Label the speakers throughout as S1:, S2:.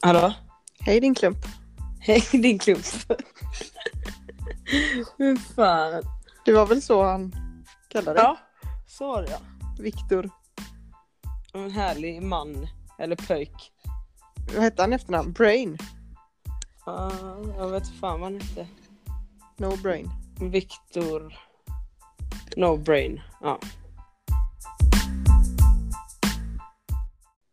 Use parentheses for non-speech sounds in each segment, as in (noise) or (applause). S1: Hallå?
S2: Hej din klump.
S1: Hej din klump. Hur fan?
S2: Det var väl så han kallade dig?
S1: Ja, så var det ja.
S2: Viktor.
S1: En härlig man. Eller pöjk.
S2: Vad hette han i efternamn? Brain?
S1: Ah, jag vet inte fan vad han hette.
S2: No brain.
S1: Viktor... No brain. Ja.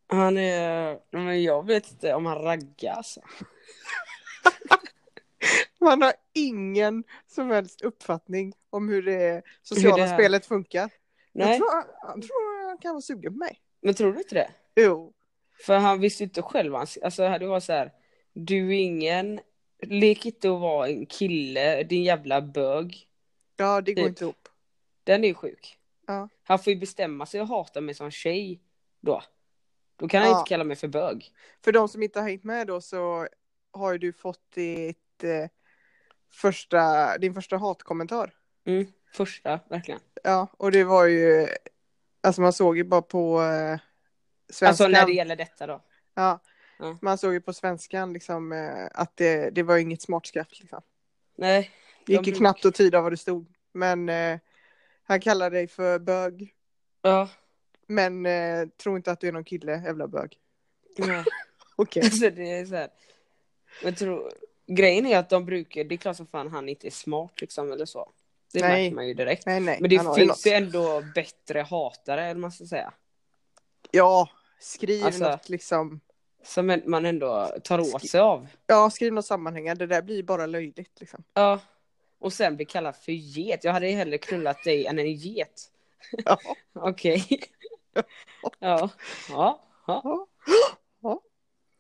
S1: Han är... Men jag vet inte om han raggar alltså.
S2: Man har ingen som helst uppfattning om hur det sociala
S1: Hur det är.
S2: spelet funkar. Jag
S1: Nej,
S2: tror, han- jag tror han kan vara sugen på mig.
S1: men tror du inte det?
S2: Jo.
S1: För han visste ju inte själv. Han, alltså det var så här. Du är ingen. Lek inte att vara en kille. Din jävla bög.
S2: Ja, det går
S1: Typ.
S2: inte ihop.
S1: Den är ju sjuk.
S2: Ja.
S1: Han får ju bestämma sig och hata mig som tjej. Då. Då kan han
S2: Ja.
S1: inte kalla mig för bög.
S2: För de som inte har hängt med då så har ju du fått ditt, eh, första, din första hatkommentar.
S1: Mm. Första, verkligen.
S2: Ja, och det var ju... Alltså man såg ju bara på eh,
S1: Alltså
S2: svenskan.
S1: när det gäller detta då.
S2: Ja.
S1: Ja.
S2: Man såg ju på svenskan liksom, eh, att det, det var ju inget smart skratt. Liksom.
S1: Nej.
S2: Det gick
S1: De
S2: ju
S1: bruk-
S2: knappt att tyda vad det stod. Men eh, han kallar dig för bög.
S1: Ja.
S2: Men eh, tror inte att du är någon kille, jävla bög.
S1: Nej.
S2: Okej.
S1: (laughs) Alltså det är så här. Men tro... Grejen är att de brukar. Det är klart som fan han inte är smart liksom eller så. Det
S2: Nej.
S1: märker man ju direkt.
S2: (laughs) Nej, nej.
S1: Men det
S2: han har något.
S1: finns ju ändå bättre hatare eller vad man ska säga.
S2: Ja, skriv
S1: Alltså-
S2: något liksom.
S1: Som en- man ändå tar åt sig av.
S2: Ja, skriv något sammanhängande. Det där blir ju bara löjligt liksom. (laughs)
S1: Ja. Och sen bli kallad för get. Jag hade ju hellre knullat dig än en get.
S2: Ja.
S1: Okej.
S2: (laughs)
S1: ja. Ja. ja.
S2: Ja.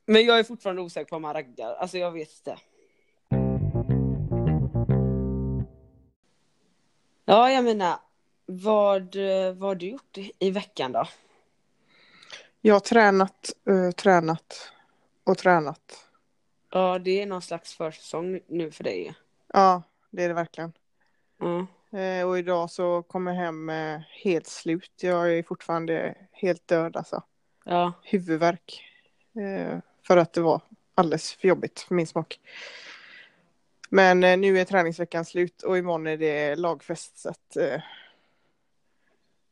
S1: Men jag är fortfarande osäker på om han raggar. Alltså jag vet inte. Ja, jag menar. Vad, eh, vad har du gjort i- i veckan då?
S2: Jag har tränat, eh, tränat och tränat.
S1: Ja, det är någon slags försäsong nu för dig.
S2: Ja, det är det verkligen.
S1: Mm.
S2: Eh, och idag så kom jag hem eh, helt slut. Jag är fortfarande helt död alltså.
S1: Ja.
S2: Huvudvärk. Eh, för att det var alldeles för jobbigt för min smak. Men eh, nu är träningsveckan slut och imorgon är det lagfest så att eh,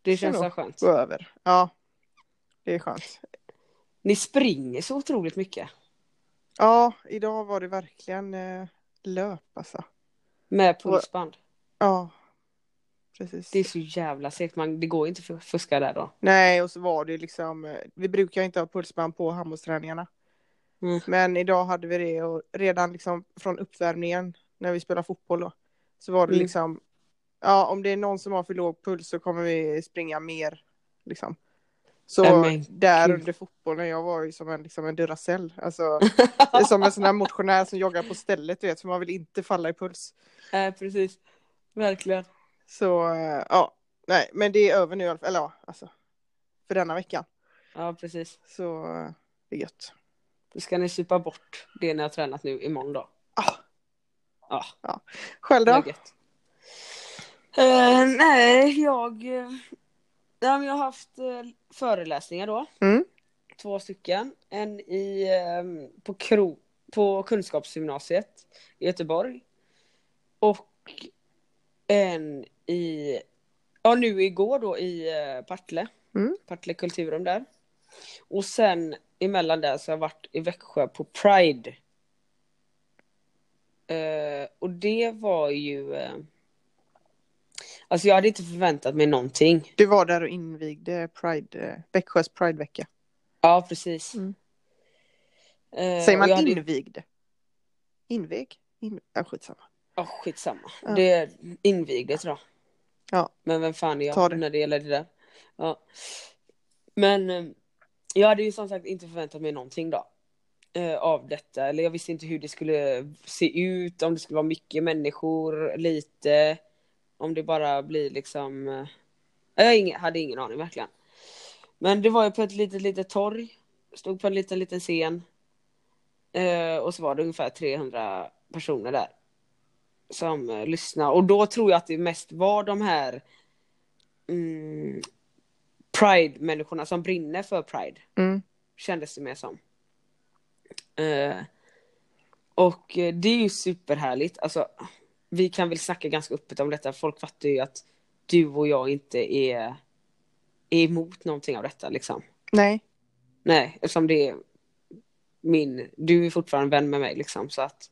S1: Det
S2: Kör
S1: känns
S2: då.
S1: så skönt.
S2: gå över. Ja, det är skönt.
S1: Ni springer så otroligt mycket.
S2: Ja, idag var det verkligen eh, löp alltså.
S1: Med pulsband.
S2: Ja, precis.
S1: Det är så jävla segt. Man, det går ju inte för- att fuska där
S2: (laughs)
S1: då.
S2: Nej, och så var det liksom, eh, vi brukar inte ha pulsband på handbollsträningarna.
S1: Mm.
S2: Men idag hade vi det och redan liksom från uppvärmningen när vi spelar fotboll då, så var det
S1: Mm.
S2: liksom, ja om det är någon som har för låg puls så kommer vi springa mer. Liksom. Så
S1: Nej, men
S2: där
S1: gud.
S2: under fotbollen, jag var ju som en, liksom en Duracell, alltså (laughs) som en sån här motionär som joggar på stället du vet, för man vill inte falla i puls.
S1: (laughs) Nej, precis. Verkligen.
S2: Så eh, ja, nej men det är över nu i alla fall, eller ja, alltså för denna veckan.
S1: Ja, precis.
S2: Så eh, det är gött.
S1: Då ska ni supa bort det ni har tränat nu imorgon då.
S2: Ah.
S1: Ja,
S2: Själv
S1: det
S2: då?
S1: är gött. Eh, nej, jag... eh, nej, men jag har haft eh, föreläsningar då.
S2: Mm.
S1: Två stycken. En i, eh, på, kro, på Kunskapsgymnasiet i Göteborg. Och en i, ja nu igår då i eh, Partille.
S2: Mm.
S1: Partille Kulturum där. Och sen emellan där så har jag varit i Växjö på Pride. Eh, och det var ju... eh, alltså jag hade inte förväntat mig någonting.
S2: Du var där och invigde Pride, eh, Växjös Pridevecka.
S1: Ja, precis.
S2: Mm.
S1: Eh,
S2: Säger
S1: och
S2: man
S1: jag hade-
S2: invigde? Invig? In... Ja, skitsamma.
S1: Ja, skitsamma.
S2: Ja.
S1: Det är invigdes då.
S2: Ja.
S1: Men vem fan är
S2: Ta
S1: jag
S2: det.
S1: när det gäller det där? Ja. Men eh, jag hade ju som sagt inte förväntat mig någonting då. eh, Av detta. Eller jag visste inte hur det skulle se ut. Om det skulle vara mycket människor, lite. Om det bara blir liksom. eh, Jag har ingen- hade ingen aning verkligen. Men det var ju på ett litet, litet torg. Stod på en liten, liten scen. Eh, Och så var det ungefär 300 personer där som eh, lyssnar. Och då tror jag att det mest var de här mm, Pride-människorna som brinner för Pride.
S2: Mm.
S1: Kändes det mer som. Eh, och eh, det är ju superhärligt. Alltså, vi kan väl snacka ganska öppet om detta. Folk fattar ju att du och jag inte är, är emot någonting av detta liksom.
S2: Nej.
S1: Nej, eftersom det är min... Du är fortfarande vän med mig liksom så att...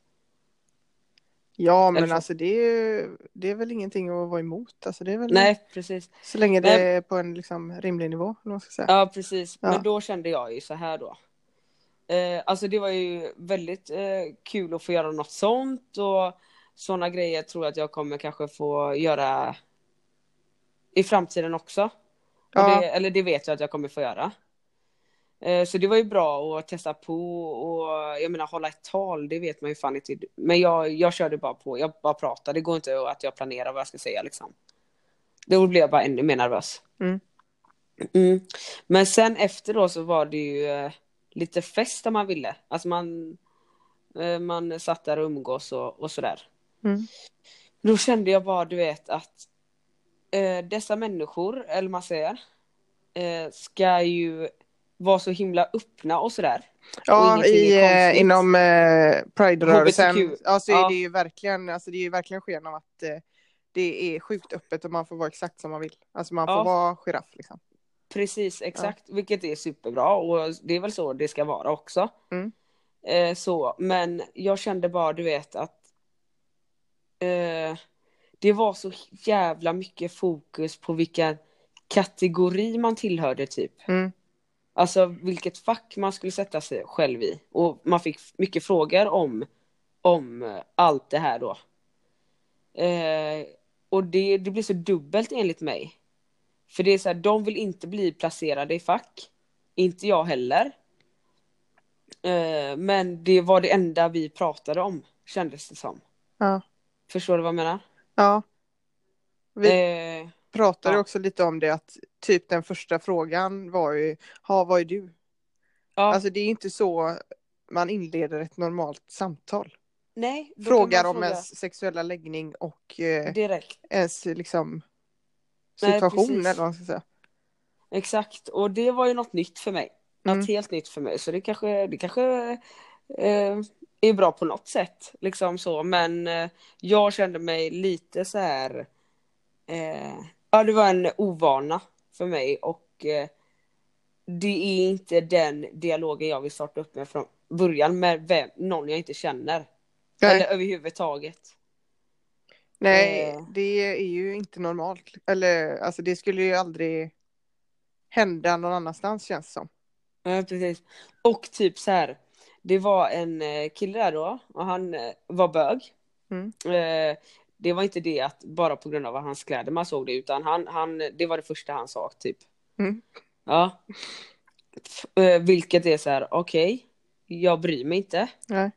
S2: Ja, men
S1: Eller-
S2: alltså det är, ju- det är väl ingenting att vara emot. Alltså, det är väl
S1: Nej, precis.
S2: Så länge det är på en liksom, rimlig nivå. Eller vad man ska säga.
S1: Ja, precis.
S2: Ja.
S1: Men då kände jag ju så här då. Eh, alltså det var ju väldigt eh, kul att få göra något sånt och sådana grejer tror jag att jag kommer kanske få göra i framtiden också. Och
S2: Ja.
S1: Det, eller det vet jag att jag kommer få göra. Eh, så det var ju bra att testa på och jag menar hålla ett tal, det vet man ju fan inte. Men jag, jag körde bara på, jag bara pratade, det går inte att jag planerar vad jag ska säga liksom. Då blev jag bara ännu mer nervös.
S2: Mm.
S1: Mm. Men sen efter då så var det ju eh, lite fest om man ville. Alltså man, eh, man satt där och umgås och, och sådär.
S2: Mm.
S1: Då kände jag bara, du vet, att eh, dessa människor, eller man säger, eh, ska ju vara så himla öppna och sådär.
S2: Ja,
S1: ingenting
S2: i,
S1: är
S2: eh,
S1: konstigt.
S2: inom eh, Pride-rörelsen
S1: HBTQ.
S2: ja, så är
S1: Ja.
S2: det ju verkligen, alltså, det är ju verkligen sken av att eh, det är sjukt öppet och man får vara exakt som man vill. Alltså man får
S1: Ja.
S2: vara giraff liksom.
S1: Precis, exakt. Vilket är superbra och det är väl så det ska vara också.
S2: Mm.
S1: Eh, så, men jag kände bara, du vet att eh, det var så jävla mycket fokus på vilken kategori man tillhörde typ.
S2: Mm.
S1: Alltså vilket fack man skulle sätta sig själv i. Och man fick mycket frågor om, om eh, allt det här då. Eh, och det, det blir så dubbelt enligt mig. För det är så här, de vill inte bli placerade i fack. Inte jag heller. Eh, men det var det enda vi pratade om, kändes det som.
S2: Ja.
S1: Förstår du vad jag menar?
S2: ja. Vi
S1: Eh,
S2: pratade
S1: ja.
S2: också lite om det att typ den första frågan var ju, ha vad är du?
S1: ja,
S2: Alltså det är inte så man inleder ett normalt samtal.
S1: nej. då kan man
S2: Frågar om
S1: fråga
S2: ens sexuella läggning och eh,
S1: Direkt.
S2: ens liksom
S1: Nej,
S2: situation
S1: precis.
S2: eller vad man ska säga.
S1: Exakt, och det var ju något nytt för mig.
S2: Mm.
S1: Något helt nytt för mig, så det kanske, det kanske eh, är bra på något sätt. Liksom så. Men eh, jag kände mig lite så här... Eh, ja, det var en ovana för mig och eh, det är inte den dialogen jag vill starta upp med från början med vem, någon jag inte känner.
S2: Nej.
S1: Eller överhuvudtaget.
S2: Nej,
S1: Eh.
S2: det är ju inte normalt. Eller alltså det skulle ju aldrig hända någon annanstans känns det som.
S1: Ja, precis. Och typ så här. Det var en eh, kille där då och han eh, var bög.
S2: Mm.
S1: Eh, Det var inte det att bara på grund av hans kläder man såg det utan han, han, det var det första han sa typ.
S2: Mm.
S1: Ja. F- eh, Vilket är så här, okej, jag bryr mig inte.
S2: Nej.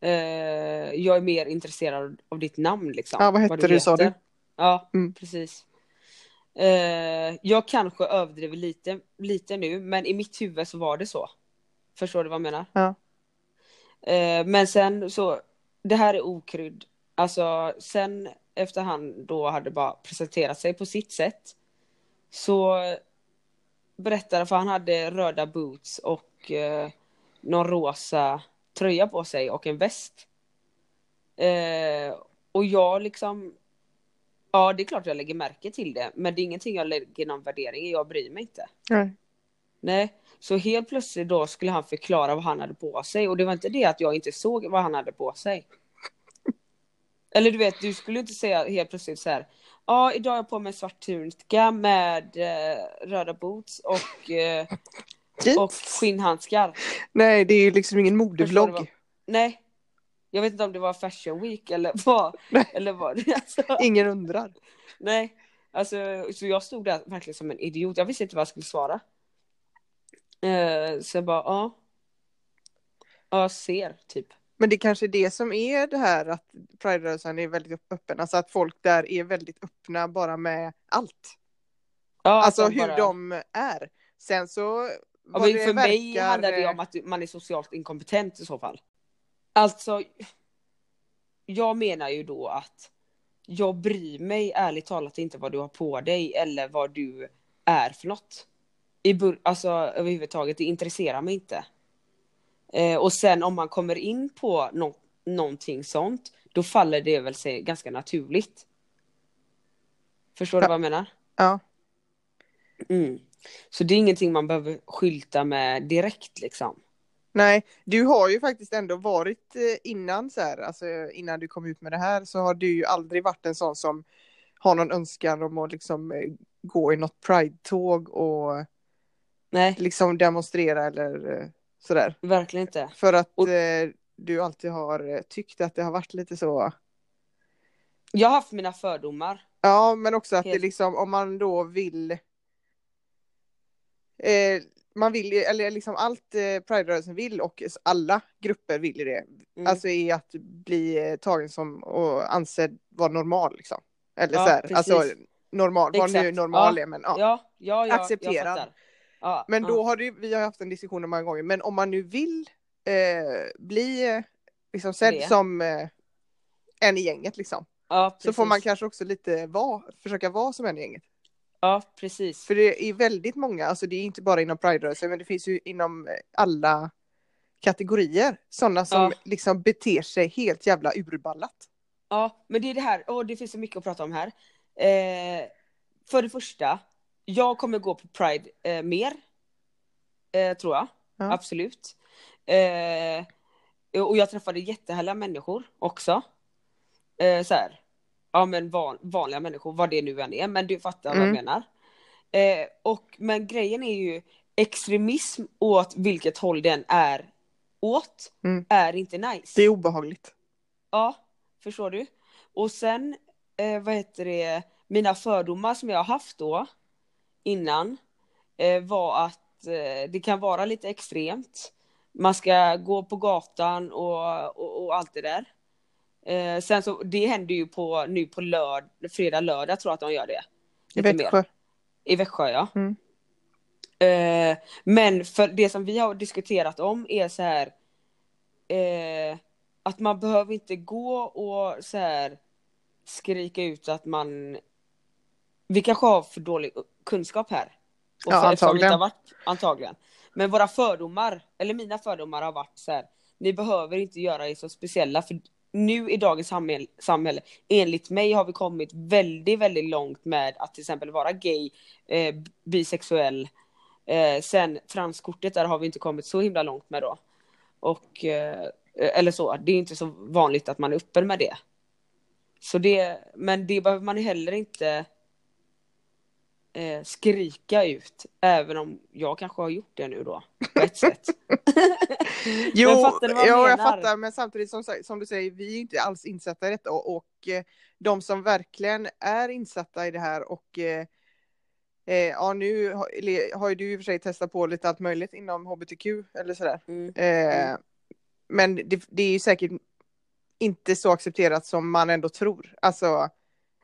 S1: Eh, Jag är mer intresserad av ditt namn liksom.
S2: Ja, vad hette du, sa du?
S1: Ja,
S2: Mm.
S1: precis. Eh, Jag kanske överdriver lite, lite nu, men i mitt huvud så var det så. Förstår du vad jag menar?
S2: Ja.
S1: Eh, men sen så, det här är okrydd. Alltså sen efter han då hade bara presenterat sig på sitt sätt. Så berättade, för han hade röda boots och eh, någon rosa tröja på sig och en väst. Eh, och jag liksom, ja det är klart jag lägger märke till det. Men det är ingenting jag lägger någon värdering i, jag bryr mig inte.
S2: Nej.
S1: Nej, så helt plötsligt då skulle han förklara vad han hade på sig och det var inte det att jag inte såg vad han hade på sig. Eller du vet, du skulle inte säga helt plötsligt så här. Ja, idag har jag på mig svart tunika med eh, röda boots och, eh, och skinnhandskar.
S2: Nej, det är ju liksom ingen
S1: Förstår du
S2: modevlogg.
S1: vad- Nej, jag vet inte om det var fashion week eller vad.
S2: Nej.
S1: eller vad. Alltså,
S2: Ingen undrar.
S1: nej, alltså så jag stod där verkligen som en idiot. Jag visste inte vad jag skulle svara. Eh, så jag bara, ja. Ja, jag ser typ.
S2: Men det kanske är det som är det här att Pride-rörelsen är väldigt öppen. Alltså att folk där är väldigt öppna bara med allt.
S1: Ja,
S2: Alltså
S1: att
S2: hur
S1: bara-
S2: de är. Sen så...
S1: Ja,
S2: vad
S1: men
S2: det
S1: Alltså, för mig
S2: verkar- eh,
S1: handlar det om att du- man är socialt inkompetent i så fall. Alltså, jag menar ju då att jag bryr mig ärligt talat inte vad du har på dig eller vad du är för något. I bur- alltså överhuvudtaget, det intresserar mig inte. Eh, och sen om man kommer in på nå- någonting sånt, då faller det väl sig ganska naturligt. Förstår du
S2: Ja.
S1: vad jag menar?
S2: Ja.
S1: Mm. Så det är ingenting man behöver skylta med direkt liksom.
S2: Nej, du har ju faktiskt ändå varit eh, innan så här, alltså innan du kom ut med det här så har du ju aldrig varit en sån som har någon önskan om att liksom eh, gå i något pride-tåg och
S1: Nej,
S2: liksom demonstrera eller eh, sådär.
S1: verkligen inte.
S2: För att
S1: Och-
S2: eh, du alltid har eh, tyckt att det har varit lite så.
S1: Jag har haft mina fördomar.
S2: Ja, men också att det
S1: Helt.
S2: liksom om man då vill. Eh, man vill ju, eller liksom allt eh, Pride-rörelsen vill och s- alla grupper vill ju det.
S1: Mm.
S2: Alltså i att bli eh, tagen som och ansedd vara normal liksom. Eller
S1: Ja,
S2: så här,
S1: precis.
S2: alltså normal, vad nu
S1: Exakt.
S2: normal
S1: Ja.
S2: är men ja.
S1: ja, ja, ja,
S2: Acceptera.
S1: jag fattar. Ja,
S2: Men då
S1: ja.
S2: har det, vi har haft en diskussion om många gånger, men om man nu vill eh, bli eh, liksom sedd
S1: Det.
S2: som eh, en i gänget liksom.
S1: ja,
S2: Så får
S1: precis.
S2: man kanske också lite vara, försöka vara som en i gänget.
S1: Ja, precis.
S2: För det är väldigt många, alltså det är inte bara inom Pride-rörelsen, men det finns ju inom eh, alla kategorier. Sådana som
S1: Ja.
S2: liksom beter sig helt jävla urballat.
S1: Ja, men det är det här, åh det finns så mycket att prata om här. Eh, för det första, jag kommer gå på Pride eh, mer. Eh, tror jag,
S2: Ja.
S1: absolut. Eh, och jag träffade jättehärliga människor också. Eh, så här, ja men van, vanliga människor, vad det nu än är, men du fattar vad jag
S2: Mm.
S1: menar. Eh, och, men grejen är ju, extremism åt vilket håll den är åt,
S2: Mm.
S1: är inte nice.
S2: Det är obehagligt.
S1: Ja, förstår du? Och sen, eh, vad heter det, mina fördomar som jag har haft då innan eh, var att eh, det kan vara lite extremt. Man ska gå på gatan och, och, och allt det där. Eh, sen så, det händer ju på, nu på lörd, fredag, lördag tror jag att de gör det.
S2: I
S1: Lite mer.
S2: Växjö.
S1: I Växjö ja.
S2: Mm.
S1: Eh, men för det som vi har diskuterat om är så här. Eh, att man behöver inte gå och så här skrika ut att man. Vi kanske har för dålig kunskap här. Och
S2: Ja,
S1: för, eftersom vi inte
S2: antagligen.
S1: har varit, antagligen. Men våra fördomar, eller mina fördomar har varit så här. Ni behöver inte göra er så speciella för nu i dagens samhälle, samhälle, enligt mig har vi kommit väldigt, väldigt långt med att till exempel vara gay, eh, bisexuell. Eh, sen transkortet, där har vi inte kommit så himla långt med då. Och, eh, eller så, det är inte så vanligt att man är öppen med det. Så det, men det behöver man heller inte eh, skrika ut, även om jag kanske har gjort det nu då, på ett sätt.
S2: (laughs) Jo,
S1: Men fattar du vad jag
S2: ja, jag
S1: menar?
S2: fattar, men samtidigt som, sa- som du säger, vi är inte alls insatta i detta och, och eh, de som verkligen är insatta i det här och eh, eh, ja, nu har, eller, har ju du i och för sig testat på lite allt möjligt inom hbtq eller sådär.
S1: Mm.
S2: Eh,
S1: Mm.
S2: Men det, det är ju säkert inte så accepterat som man ändå tror. Alltså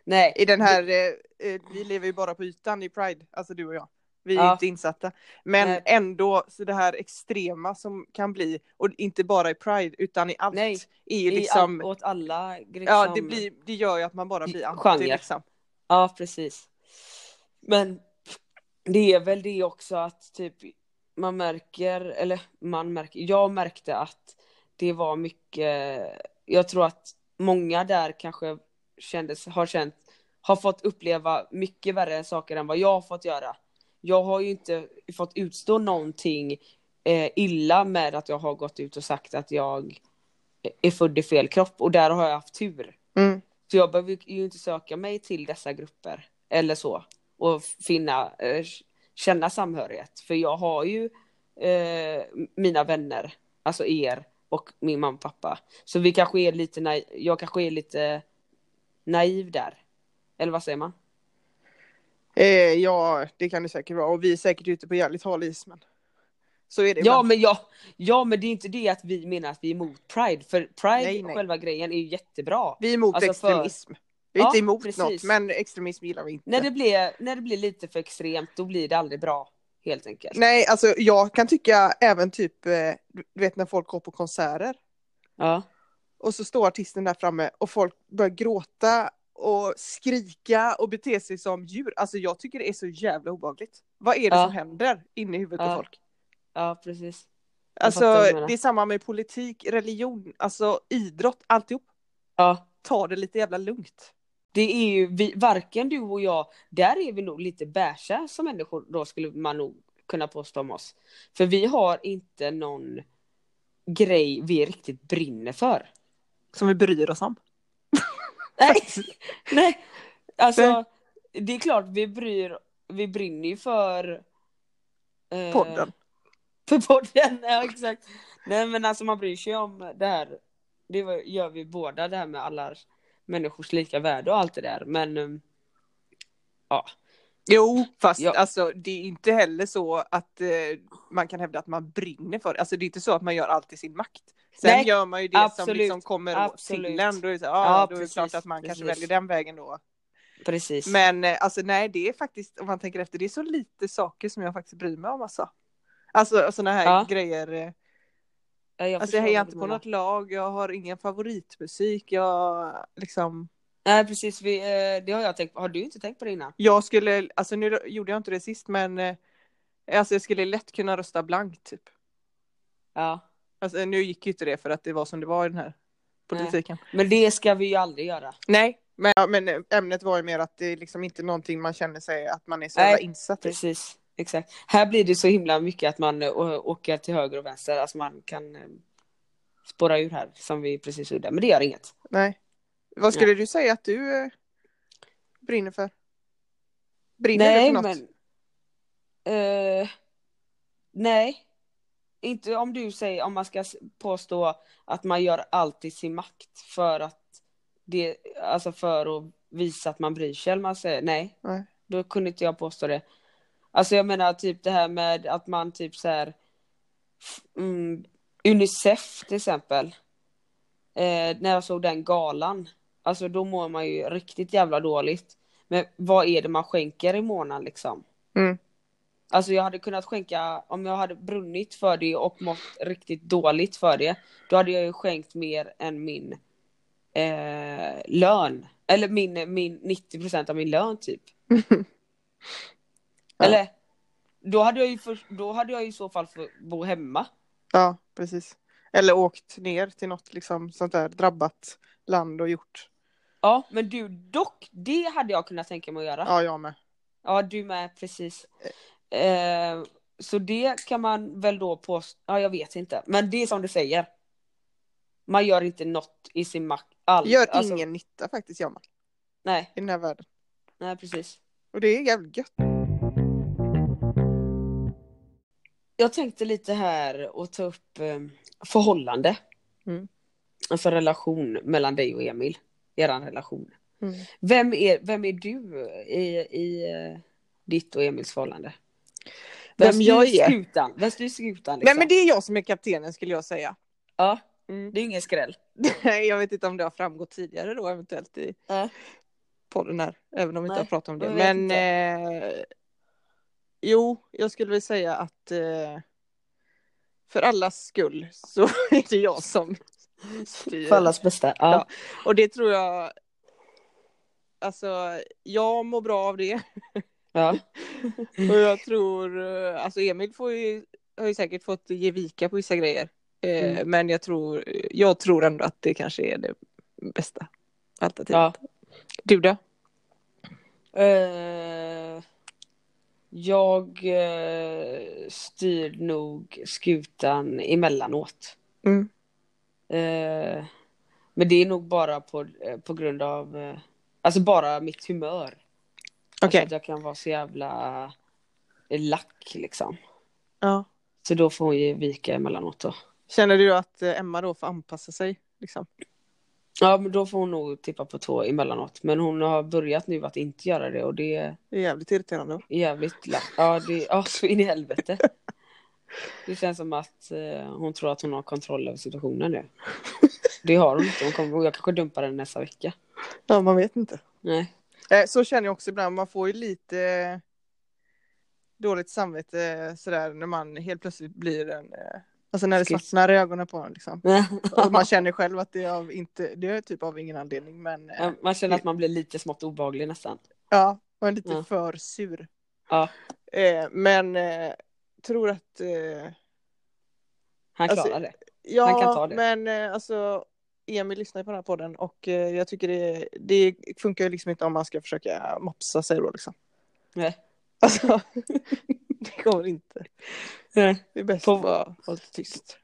S1: Nej,
S2: i den här, eh, eh, vi lever ju bara på ytan i Pride, alltså du och jag. Vi är
S1: Ja.
S2: inte insatta. Men
S1: Nej.
S2: ändå, så det här extrema som kan bli, och inte bara i Pride utan i allt,
S1: Nej,
S2: är ju liksom,
S1: i all, åt alla
S2: ja det,
S1: liksom-
S2: blir, det gör ju att man bara blir anti
S1: Genre.
S2: liksom.
S1: Ja, precis. Men det är väl det också att typ man märker, eller man märker, jag märkte att det var mycket, jag tror att många där kanske kändes, har känt, har fått uppleva mycket värre saker än vad jag har fått göra. Jag har ju inte fått utstå någonting eh, illa med att jag har gått ut och sagt att jag är född i fel kropp och där har jag haft tur.
S2: Mm.
S1: Så jag behöver ju inte söka mig till dessa grupper eller så och finna, eh, känna samhörighet. För jag har ju eh, mina vänner, alltså er och min mamma och pappa. Så vi kanske är lite naiv, jag kanske är lite naiv där. Eller vad säger man?
S2: Eh, ja, det kan det säkert vara och vi är säkert ute på jävligt hal is men. Så är
S1: Ja
S2: det ibland.
S1: men, ja, ja men det är inte det att vi menar att vi är emot Pride, för Pride,
S2: Nej, nej.
S1: själva grejen, är ju jättebra.
S2: Vi är emot
S1: Alltså, för-
S2: extremism. Vi är
S1: Ja,
S2: inte emot
S1: precis.
S2: något, men extremism gillar vi inte.
S1: När det, blir, när det blir lite för extremt, då blir det aldrig bra. Helt enkelt.
S2: Nej, alltså jag kan tycka även typ, eh, du du vet när folk går på konserter
S1: Ja.
S2: och så står artisten där framme och folk börjar gråta och skrika och bete sig som djur. Alltså jag tycker det är så jävla obehagligt. Vad är det
S1: Ja.
S2: som händer inne i huvudet på
S1: Ja.
S2: folk?
S1: ja, precis.
S2: Alltså,
S1: fattar vad du menar.
S2: det är samma med politik, religion, alltså idrott, alltihop.
S1: Ja.
S2: Ta det lite jävla lugnt.
S1: Det är ju vi, varken du och jag, där är vi nog lite bärsa som människor då skulle man nog kunna påstå om oss. För vi har inte någon grej vi riktigt brinner för.
S2: Som vi bryr oss (laughs) om.
S1: Nej, nej. Alltså,
S2: Nej.
S1: det är klart vi bryr, vi brinner ju för eh,
S2: Podden.
S1: För podden, (laughs) ja exakt. Nej men alltså man bryr sig om det här. Det var- gör vi båda, det här med alla människors lika värde och allt det där. Men eh, ja.
S2: (laughs) Jo, fast
S1: Ja.
S2: alltså, det är inte heller så att eh, man kan hävda att man brinner för det. Alltså, det är inte så att man gör allt i sin makt. Sen
S1: Nej,
S2: gör man ju det som
S1: absolut,
S2: liksom kommer
S1: absolut.
S2: till en. Då är det, så, ja,
S1: Ja,
S2: då
S1: precis,
S2: är det klart att man kanske
S1: precis.
S2: väljer den vägen då.
S1: Precis.
S2: Men eh, alltså nej, det är faktiskt, om man tänker efter, det är så lite saker som jag faktiskt bryr mig om alltså. Alltså sådana här
S1: Ja.
S2: grejer. eh,
S1: ja, jag
S2: alltså jag
S1: förstår
S2: hejar
S1: vad
S2: inte
S1: du
S2: på
S1: menar.
S2: något lag, jag har ingen favoritmusik, jag liksom.
S1: Nej precis, vi, eh, det har jag tänkt på. Har du inte tänkt på det innan?
S2: Jag skulle, alltså nu gjorde jag inte det sist men eh, alltså jag skulle lätt kunna rösta blankt typ.
S1: Ja.
S2: Alltså nu gick ju inte det för att det var som det var i den här politiken.
S1: Men det ska vi ju aldrig göra.
S2: Nej, men, ja, men eh, ämnet var ju mer att det är liksom inte någonting man känner sig att man är så
S1: Nej,
S2: jävla insatt i.
S1: Precis, exakt. Här blir det så himla mycket att man eh, å- åker till höger och vänster. Alltså man kan eh, spåra ur här som vi precis gjorde. Men det gör inget.
S2: Nej. Vad skulle du säga att du eh, brinner för? Brinner du för något?
S1: men. Eh, nej. Inte om du säger, om man ska s- påstå att man gör allt i sin makt för att det, alltså för att visa att man bryr sig. Eller man säger nej.
S2: Nej.
S1: Då kunde inte jag påstå det. Alltså jag menar typ det här med att man typ så här. f- Mm, Unicef till exempel. Eh, när jag såg den galan. Alltså då mår man ju riktigt jävla dåligt. Men vad är det man skänker i månaden liksom?
S2: Mm.
S1: Alltså jag hade kunnat skänka, om jag hade brunnit för det och mått riktigt dåligt för det, då hade jag ju skänkt mer än min eh, lön. Eller min, min 90% av min lön typ.
S2: Ja.
S1: Eller, då hade jag ju, för, då hade jag ju i så fall fått bo hemma.
S2: Ja, precis. Eller åkt ner till något liksom sånt där drabbat land och gjort.
S1: Ja, men du dock, det hade jag kunnat tänka mig att göra.
S2: Ja, jag med.
S1: Ja, du med, precis. Eh, så det kan man väl då påstå, ja jag vet inte, men det är som du säger. Man gör inte något i sin makt alls.
S2: Gör
S1: Alltså,
S2: ingen nytta faktiskt, jag med,
S1: Nej,
S2: i den här världen.
S1: nej precis.
S2: Och det är jävligt gött.
S1: Jag tänkte lite här och ta upp eh, förhållande.
S2: Mm.
S1: Alltså relation mellan dig och Emil, eran relation. Vem är, vem är du i, i eh, ditt och Emils förhållande?
S2: Vem
S1: styr
S2: jag är?
S1: Skutan? Vem styr skutan?
S2: Nej,
S1: Liksom?
S2: men det är jag som är kaptenen skulle jag säga.
S1: Ja,
S2: Mm.
S1: det är ingen skräll.
S2: jag vet inte om det har framgått tidigare då eventuellt i
S1: Nej.
S2: podden här, även om vi inte
S1: Nej,
S2: har pratat om det.
S1: jag vet
S2: Men eh, jo, jag skulle väl säga att eh, för allas skull så (laughs) är det jag som styr.
S1: För allas bästa. Mm. Ja.
S2: Och det tror jag, alltså jag mår bra av det.
S1: ja.
S2: Och jag tror, eh, alltså Emil får ju, har ju säkert fått ge vika på vissa grejer. Eh,
S1: Mm.
S2: Men jag tror, jag tror ändå att det kanske är det bästa alternativet.
S1: ja.
S2: Du då?
S1: Eh, jag eh, styr nog skutan emellanåt.
S2: Mm.
S1: Eh, men det är nog bara på, eh, på grund av, eh, alltså bara mitt humör. Alltså
S2: Okej.
S1: att jag kan vara så jävla lack liksom.
S2: Ja.
S1: Så då får hon ge vika emellanåt då.
S2: Känner du att eh, Emma då får anpassa sig? Liksom?
S1: Ja men då får hon nog tippa på tå emellanåt. Men hon har börjat nu att inte göra det och det är
S2: Det är jävligt (laughs) irriterande.
S1: jävligt lack. Ja det ja, (laughs) så in i helvete. Det känns som att eh, hon tror att hon har kontroll över situationen nu. Det har hon inte. Hon kommer, jag kanske dumpar henne nästa vecka.
S2: Ja, man vet inte.
S1: Nej. (laughs)
S2: Eh, Så känner jag också ibland, man får ju lite eh, dåligt samvete eh, sådär när man helt plötsligt blir en, eh, alltså när det
S1: Skit.
S2: svartnar i ögonen på en liksom. Och man känner själv att det är av inte, det är typ av ingen anledning men eh,
S1: Ja, Man känner att man blir lite smått obehaglig nästan.
S2: ja, man är lite
S1: Ja.
S2: för sur.
S1: Mm. Ja.
S2: Eh, Men eh, tror att eh,
S1: Han
S2: Alltså,
S1: klarar det.
S2: Ja,
S1: Han kan ta det.
S2: men eh, alltså Emil lyssnar ju på den här podden och eh, jag tycker det, det funkar ju liksom inte om man ska försöka mopsa sig då liksom. (laughs)
S1: Nej. (laughs)
S2: Alltså, det går inte.
S1: Nej.
S2: Det är bäst
S1: Eh, På-
S2: att bara hålla tyst.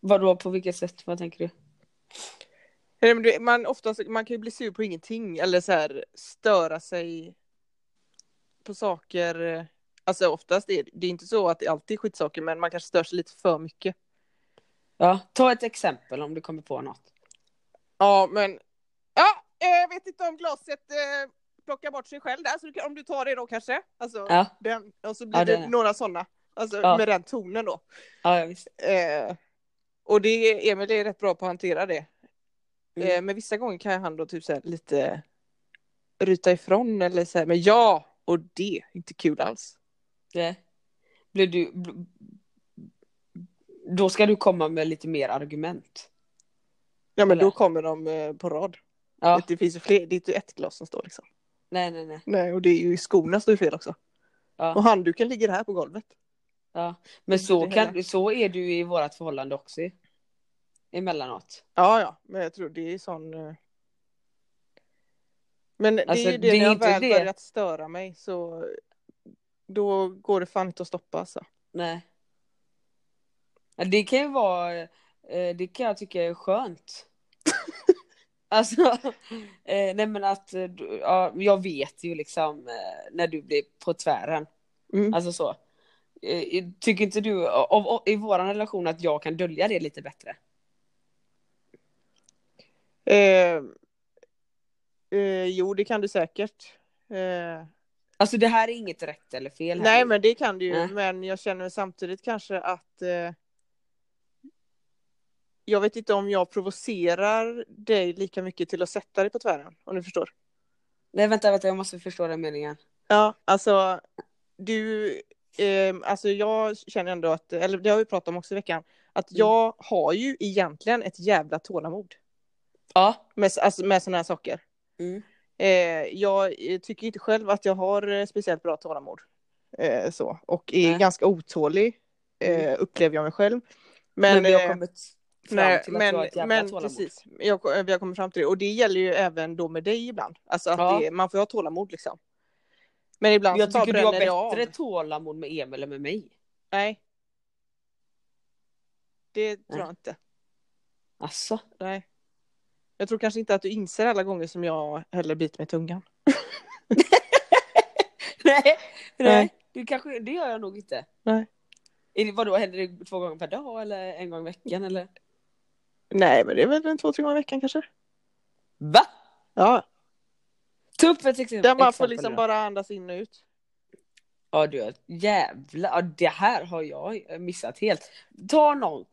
S1: Vadå, på vilket sätt? Vad tänker du?
S2: Nej, men du- Man, oftast, man kan ju bli sur på ingenting eller så här störa sig på saker. Alltså oftast är det- det är inte så att det alltid är skitsaker men man kanske stör sig lite för mycket.
S1: Ja, ta ett exempel om du kommer på något.
S2: Ja men ja, eh, jag vet inte om glaset eh, plockar bort sig själv där så du, kan- om du tar det då kanske. Alltså,
S1: Ja,
S2: den, och så blir
S1: Ja,
S2: det
S1: den är-
S2: några sådana. Alltså
S1: Ja.
S2: med den tonen då.
S1: ja ja, visst.
S2: Eh, och det, Emil är rätt bra på att hantera det.
S1: Mm.
S2: Eh, men vissa gånger kan han då typ så här lite ryta ifrån eller så här, men ja, och det är inte kul alls.
S1: Det. eh, Blir du... bl- Då ska du komma med lite mer argument.
S2: Ja men
S1: Eller?
S2: då kommer de eh, på rad.
S1: Ja,
S2: Det finns ju fler, det är inte ett glas som står liksom.
S1: nej, nej, nej.
S2: Nej och det är ju skorna står ju fel också.
S1: Ja.
S2: Och handduken ligger här på golvet.
S1: Ja. Men
S2: Det
S1: så,
S2: är
S1: kan,
S2: hela-
S1: så är du i vårt förhållande också. ju. Emellanåt.
S2: Ja ja, men jag tror det är sån. eh. Men
S1: Alltså,
S2: det är ju
S1: det
S2: det,
S1: är
S2: när jag
S1: inte
S2: väl
S1: det.
S2: börjat störa mig så då går det fan inte att stoppa alltså.
S1: Nej. Ja, Det kan ju vara, eh, det kan jag tycka är
S2: (laughs)
S1: skönt. alltså, eh, nej men att, eh, du- ja, jag vet ju liksom eh, när du blir på tvären.
S2: Mm.
S1: Alltså så. Eh, Tycker inte du av, av, i våran relation att jag kan dölja det lite bättre?
S2: Eh, eh, jo, det kan du säkert. Eh,
S1: Alltså det här är inget rätt eller fel. här
S2: nej,
S1: nu.
S2: men det kan du ju.
S1: Nej.
S2: Men jag känner samtidigt kanske att eh, jag vet inte om jag provocerar dig lika mycket till att sätta dig på tvären, om du förstår.
S1: Nej vänta, vänta jag måste förstå den meningen.
S2: Ja, alltså du, eh, alltså jag känner ändå att, eller det har vi pratat om också i veckan, att
S1: Mm.
S2: jag har ju egentligen ett jävla tålamod
S1: Ja.
S2: med, alltså, med sådana här saker.
S1: Mm.
S2: Eh, jag eh, tycker inte själv att jag har eh, speciellt bra tålamod. Eh, så. Och är
S1: Nej. Mm.
S2: ganska otålig, eh, upplever jag mig själv. Men,
S1: Men vi har
S2: eh,
S1: kommit fram
S2: nej,
S1: till att
S2: men,
S1: du har ett jävla
S2: men
S1: tålamod.
S2: precis, jag, eh, vi har kommit fram till det. Och det gäller ju även då med dig ibland. Alltså att
S1: Ja.
S2: det, man får ha tålamod liksom. Men ibland
S1: Jag
S2: så bara
S1: tycker du
S2: bränner
S1: har
S2: det av.
S1: bättre tålamod med Emil än med mig.
S2: Nej. Det tror
S1: Nej.
S2: jag inte.
S1: Alltså. (laughs)
S2: Nej. Jag tror kanske inte att du inser alla gånger som jag heller biter mig i tungan.
S1: Nej,
S2: Nej.
S1: nej. Det, kanske, det gör jag nog inte.
S2: Nej.
S1: Är det, vadå, händer det två gånger per dag eller en gång i veckan eller?
S2: Nej, men det är väl en två, tre gånger i veckan kanske.
S1: Va?
S2: Ja,
S1: Ta upp ett exempel.
S2: Där man får
S1: exempel
S2: liksom
S1: då.
S2: bara andas in och ut.
S1: Ja du, jävla, ja, det här har jag missat helt. Ta någon,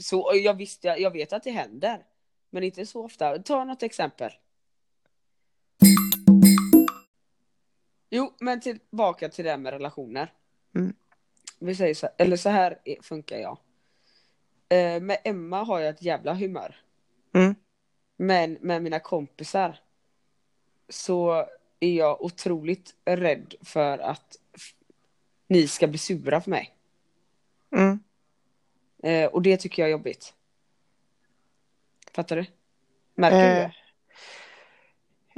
S1: så, jag, visste, jag vet att det händer. Men inte så ofta. Ta något exempel. Jo, men tillbaka till det här med relationer.
S2: Mm.
S1: Vi säger så, eller så här är- funkar jag. Eh, med Emma har jag ett jävla humör.
S2: Mm.
S1: Men med mina kompisar så är jag otroligt rädd för att f- ni ska bli sura för mig.
S2: Mm.
S1: Eh, och det tycker jag är jobbigt. Fattar du? Märker du
S2: Eh,
S1: det?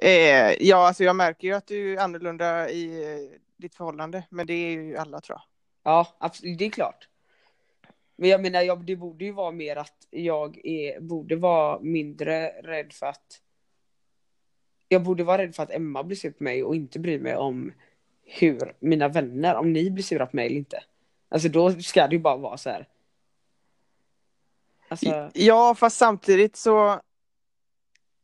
S2: Eh, ja, alltså jag märker ju att du är annorlunda i eh, ditt förhållande. Men det är ju alla tror jag.
S1: Ja, absolut, det är klart. Men jag menar, jag, det borde ju vara mer att jag är, borde vara mindre rädd för att... Jag borde vara rädd för att Emma blir sur på mig och inte bry mig om hur mina vänner, om ni blir sura på mig eller inte. Alltså då ska det ju bara vara så här. Alltså,
S2: Ja, fast samtidigt så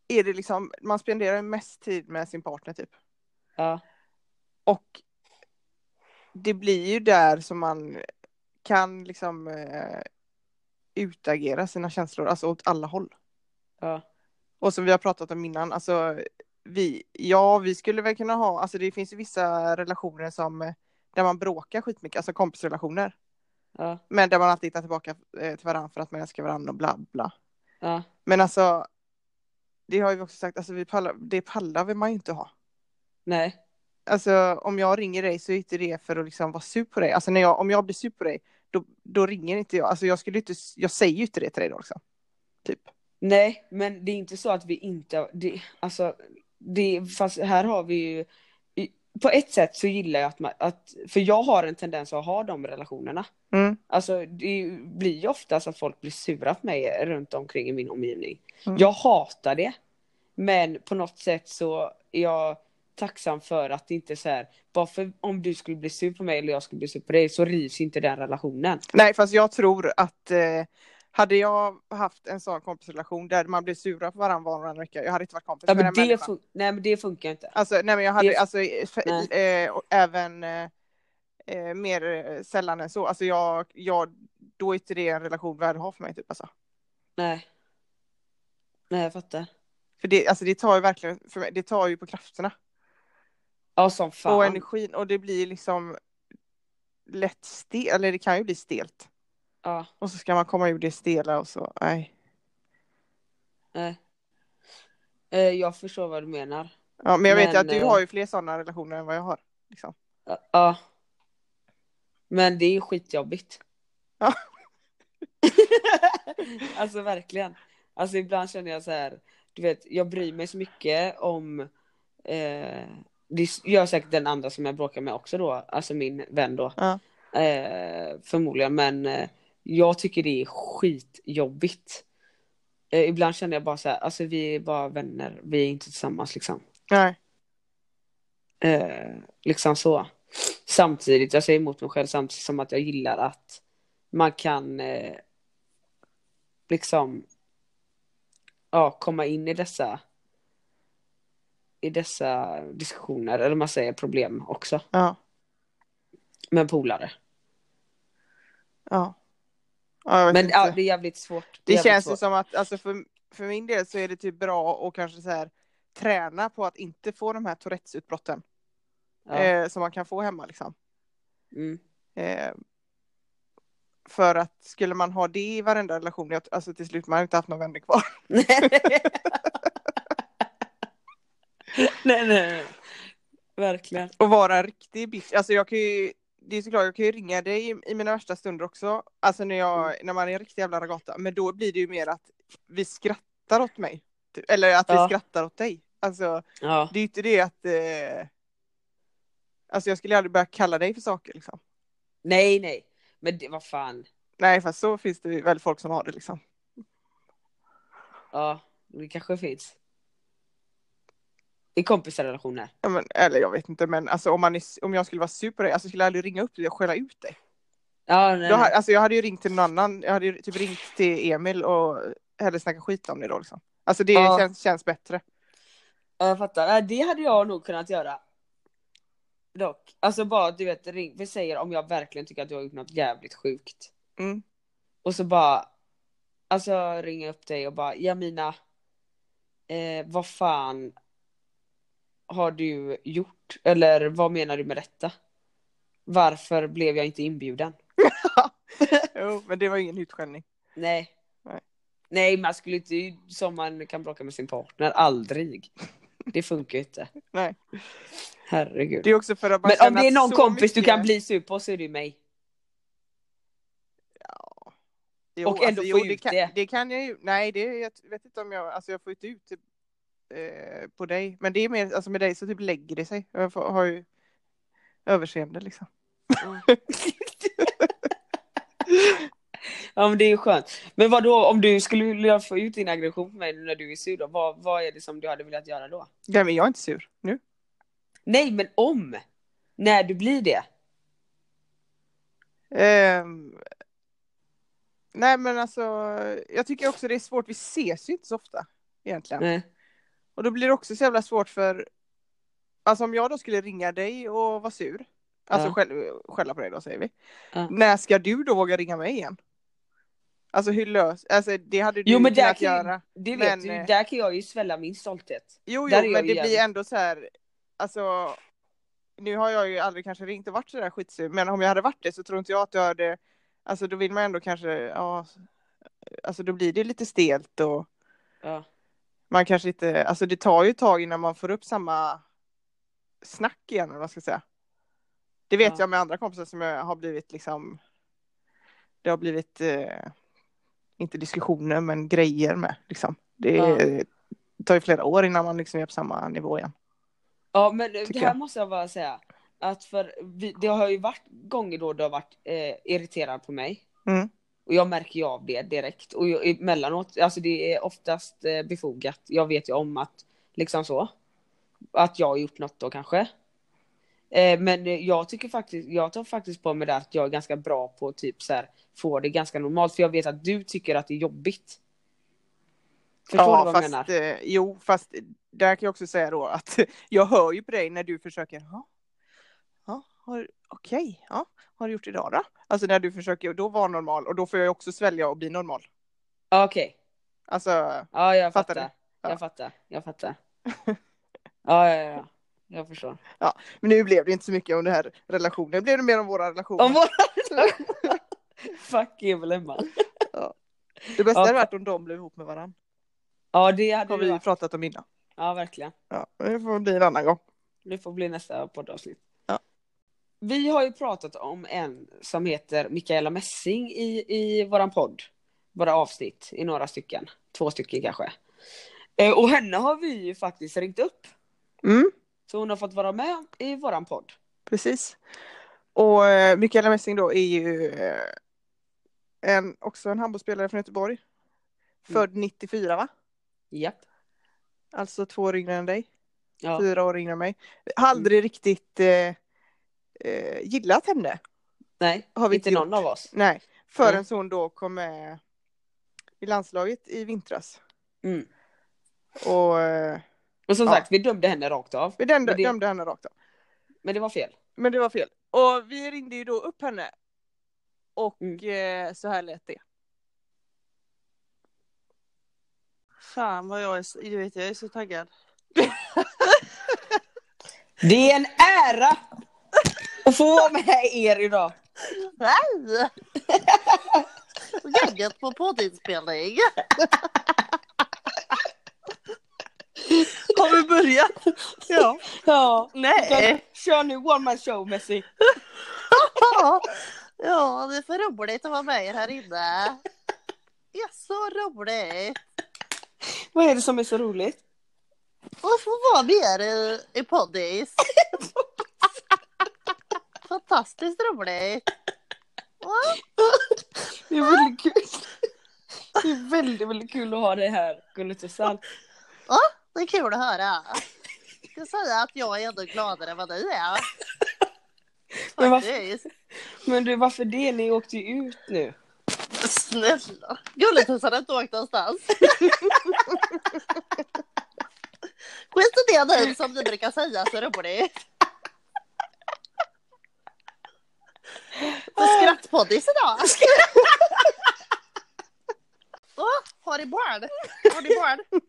S2: är det liksom, man spenderar ju mest tid med sin partner typ.
S1: ja.
S2: Och det blir ju där som man kan liksom eh, utagera sina känslor, alltså åt alla håll.
S1: Ja.
S2: Och som vi har pratat om innan, alltså vi, ja vi skulle väl kunna ha, alltså det finns ju vissa relationer som eh, där man bråkar skitmycket, alltså kompisrelationer.
S1: Ja.
S2: Men där man alltid hittar tillbaka eh, till varandra för att man älskar varandra och bla bla.
S1: Ja.
S2: Men alltså, det har ju vi också sagt, alltså vi pallar, det pallar vill man ju inte ha.
S1: Nej.
S2: alltså om jag ringer dig så är inte det för att liksom vara sur på dig. Alltså när jag, om jag blir sur på dig, då, då ringer inte jag. Alltså jag skulle inte, jag säger ju inte det till dig då liksom. Typ.
S1: Nej, men det är inte så att vi inte, det, alltså, det, fast här har vi ju, i- på ett sätt så gillar jag att, man, att, för jag har en tendens att ha de relationerna.
S2: Mm.
S1: Alltså det blir ju ofta så att folk blir sura på mig runt omkring i min omgivning.
S2: Mm.
S1: Jag hatar det. Men på något sätt så är jag tacksam för att det inte är så här, bara för om du skulle bli sur på mig eller jag skulle bli sur på dig så rivs inte den relationen.
S2: Nej, fast jag tror att eh, hade jag haft en sån kompisrelation där man blev sura på varandra varannan vecka, jag hade inte varit kompis
S1: Ja,
S2: med
S1: men
S2: den
S1: det,
S2: människan.
S1: fun- nej, men det funkar inte.
S2: Alltså, nej men jag hade,
S1: Det-
S2: alltså, eh, för, eh, och även eh, eh, mer eh, sällan än så. Alltså jag, jag, då är inte det en relation värd att ha för mig typ alltså.
S1: Nej. Nej, jag fattar.
S2: För det, alltså det tar ju verkligen, för mig, det tar ju på krafterna.
S1: Ja, som fan.
S2: Och energin, och det blir liksom lätt stelt, eller det kan ju bli stelt.
S1: Ja,
S2: Och så ska man komma ur det stela och så, nej.
S1: nej. Eh, jag förstår vad du menar.
S2: Ja, men jag vet ju
S1: Men,
S2: att du
S1: eh,
S2: har ju fler sådana relationer än vad jag har. Liksom.
S1: Ja, Ja. Men det är ju skitjobbigt.
S2: Ja.
S1: (laughs) alltså verkligen. Alltså ibland känner jag så här, du vet, jag bryr mig så mycket om eh, det gör säkert den andra som jag bråkar med också då, alltså min vän då.
S2: Ja.
S1: Eh, förmodligen, men eh, jag tycker det är skitjobbigt. Eh, ibland känner jag bara så här, alltså vi är bara vänner, vi är inte tillsammans liksom.
S2: Nej.
S1: Eh, liksom så. Samtidigt, jag säger emot mig själv samtidigt som att jag gillar att man kan eh, liksom ja, komma in i dessa i dessa diskussioner, eller man säger problem också,
S2: Ja.
S1: med polare.
S2: Ja. ja jag vet
S1: Men
S2: inte.
S1: ja, det är jävligt svårt.
S2: Det
S1: är jävligt
S2: känns ju
S1: svårt.
S2: som att alltså för, för min del så är det typ bra att kanske så här träna på att inte få de här Tourettes-utbrotten
S1: Ja.
S2: eh, som man kan få hemma liksom.
S1: Mm. (laughs)
S2: Eh, för att skulle man ha det i varenda relation, jag- alltså till slut man har inte haft någon vänner kvar. (laughs)
S1: nej, nej,
S2: (laughs)
S1: nej. Verkligen.
S2: Och vara en riktig biff, alltså jag kan ju, det är såklart jag kan ju ringa dig i, i mina värsta stunder också, alltså när, jag,
S1: Mm.
S2: när man är en riktig jävla ragata, men då blir det ju mer att vi skrattar åt mig. Typ. Eller att vi
S1: Ja.
S2: skrattar åt dig. Alltså
S1: Ja.
S2: Det är ju inte det att... Eh... Alltså jag skulle aldrig börja kalla dig för saker liksom.
S1: Nej, nej. Men det, vad fan.
S2: Nej, fast så finns det väl folk som har det liksom.
S1: Ja, det kanske finns. I kompisrelationer.
S2: Ja, men, eller jag vet inte, men alltså om, man är, om jag skulle vara sur på dig, alltså skulle jag aldrig ringa upp dig och skälla ut dig.
S1: Ja, nej.
S2: Då, ha- alltså jag hade ju ringt till någon annan, jag hade ju typ ringt till Emil och hellre snackat skit om det då liksom. Alltså det
S1: Ja.
S2: känns, känns bättre.
S1: Ja, Jag fattar. Nej, Det hade jag nog kunnat göra. Dock. Alltså bara du vet, ring. Vi säger om jag verkligen tycker att du har gjort något jävligt sjukt.
S2: Mm.
S1: Och så bara. Alltså ringa upp dig och bara Jamina. Eh, vad fan. Har du gjort? Eller vad menar du med detta? Varför blev jag inte inbjuden?
S2: Jo, men det var ju ingen utskällning.
S1: Nej.
S2: Nej.
S1: Nej, man skulle inte som man kan bråka med sin partner. Aldrig. Det funkar ju inte.
S2: Nej.
S1: Herregud.
S2: Det är också för att man
S1: Men om
S2: känner
S1: det är
S2: att
S1: någon
S2: så
S1: kompis du
S2: mycket-
S1: kan bli sur på så är det ju
S2: (laughs)
S1: mig.
S2: Jo,
S1: Och ändå
S2: alltså,
S1: få
S2: jo,
S1: ut
S2: kan,
S1: det.
S2: Det kan jag ju, nej det jag vet inte om jag, alltså jag får inte ut det eh, på dig. Men det är mer, alltså med dig så typ lägger det sig. Jag får, har ju överseende liksom.
S1: Ja men det är ju skönt. Men vad då om du skulle vilja få ut din aggression på mig när du är sur då? Vad, vad är det som du hade velat göra då?
S2: Nej men jag är inte sur nu.
S1: Nej men om! När du blir det.
S2: Ehm, nej men alltså, jag tycker också det är svårt, vi ses ju inte så ofta egentligen.
S1: Nej.
S2: Och då blir det också så jävla svårt för, alltså om jag då skulle ringa dig och vara sur, alltså
S1: Ja.
S2: skäll, skälla på dig då säger vi.
S1: Ja.
S2: När ska du då våga ringa mig igen? Alltså hur lös, alltså det hade du
S1: Jo, men där
S2: kunnat
S1: kan ju-
S2: göra.
S1: Det vet
S2: Men,
S1: du,
S2: eh,
S1: där kan jag ju svälla min stolthet.
S2: Jo,
S1: där är jag
S2: jo men
S1: ju
S2: det blir
S1: jävligt-
S2: ändå så här, alltså nu har jag ju aldrig kanske ringt och varit så där skitsur, men om jag hade varit det så tror inte jag att jag hade, alltså då vill man ändå kanske, ja, alltså då blir det lite stelt och
S1: Ja.
S2: man kanske inte, alltså det tar ju ett tag innan man får upp samma snack igen, eller vad ska jag säga. Det vet
S1: Ja.
S2: jag med andra kompisar som jag har blivit liksom, det har blivit, eh, inte diskussioner, men grejer med liksom. Det
S1: Ja.
S2: eh, tar ju flera år innan man liksom är på samma nivå igen.
S1: Ja men det
S2: Tycker
S1: här
S2: jag.
S1: måste jag bara säga. Att för vi, det har ju varit gånger då du har varit eh, irriterad på mig.
S2: Mm.
S1: Och jag märker ju av det direkt. Och jag, emellanåt, alltså det är oftast eh, befogat. Jag vet ju om att, liksom så. Att jag har gjort något då kanske. Eh, men eh, jag tycker faktiskt, jag tar faktiskt på mig det att jag är ganska bra på att typ så här, få det ganska normalt. För jag vet att du tycker att det är jobbigt. Förstår du vad jag
S2: fast,
S1: menar?
S2: Eh, jo, fast där kan jag också säga då att (laughs) jag hör ju på dig när du försöker, ja, ja, har- okej, ja, har du gjort idag då? Alltså när du försöker då vara normal och då får jag ju också svälja och bli normal.
S1: Ja, Okej.
S2: Alltså,
S1: Ja, jag
S2: Fattar
S1: fattar.
S2: du? Ja.
S1: Jag fattar. Jag fattar. Ja, ja, ja. Jag förstår.
S2: men nu blev det inte så mycket om det här relationen, det blev det mer om våra relationer.
S1: Om våra (laughs) Fuck evil Emma.
S2: Det bästa
S1: Ja.
S2: hade varit om de blev ihop med varandra.
S1: Ja, det
S2: Det har
S1: hade
S2: vi
S1: ju
S2: ju
S1: varit.
S2: pratat om innan.
S1: Ja, verkligen.
S2: Ja, men det får bli en annan gång.
S1: Det får bli nästa poddavsnitt.
S2: Ja.
S1: Vi har ju pratat om en som heter Mikaela Messing i, i våran podd. Våra avsnitt i några stycken. Två stycken kanske. Eh, Och henne har vi ju faktiskt ringt upp.
S2: Mm,
S1: Så hon har fått vara med i våran podd.
S2: precis. Och eh, Mikaela Messing då är ju eh, en, också en handbollsspelare från
S1: Mm.
S2: Göteborg. Född 94 va?
S1: Japp.
S2: Alltså två år yngre än dig,
S1: Ja. Mm.
S2: fyra år yngre än mig. Har aldrig riktigt eh, eh, gillat henne.
S1: Nej,
S2: Har vi
S1: inte
S2: inte
S1: någon av oss.
S2: Nej, förrän
S1: Mm.
S2: hon då kom med i landslaget i vintras.
S1: Mm.
S2: Och eh,
S1: Och som
S2: Ja.
S1: sagt, vi dömde henne rakt av.
S2: vi dömde,
S1: Men det-
S2: dömde henne rakt av.
S1: Men det var fel.
S2: Men det var fel. Och vi ringde ju då upp henne. Och
S3: Mm.
S2: eh, så här lät det.
S3: Fan vad jag är, så- du vet, jag är
S2: (laughs)
S3: så taggad.
S1: Det är en ära att få vara med er idag.
S3: Nej! Gaggat på poddinspelning. Har vi börjat? (laughs)
S2: Ja.
S1: Ja.
S3: Nej.
S1: Kör nu one man show Messi.
S3: Ja, det är för roligt att vara med er här inne. Ja, så roligt.
S1: Vad är det som är så roligt?
S3: (laughs) Och få vara med er i, (laughs) i poddis. Fantastiskt roligt. Ja.
S1: Det är väldigt kul. Det är väldigt, väldigt kul att ha dig här, Gulletussan.
S3: Det är kul att höra. Jag ska säga att jag är ändå gladare än vad ni är.
S1: Men varför-
S3: Faktiskt.
S1: Men du, varför det? Ni åkte ju ut nu.
S3: Snälla. Gulletussarna har inte åkt någonstans. (laughs) Skit i det nu som ni brukar säga så roligt. På skrattpoddis idag. Åh, har ni barn? Har ni barn?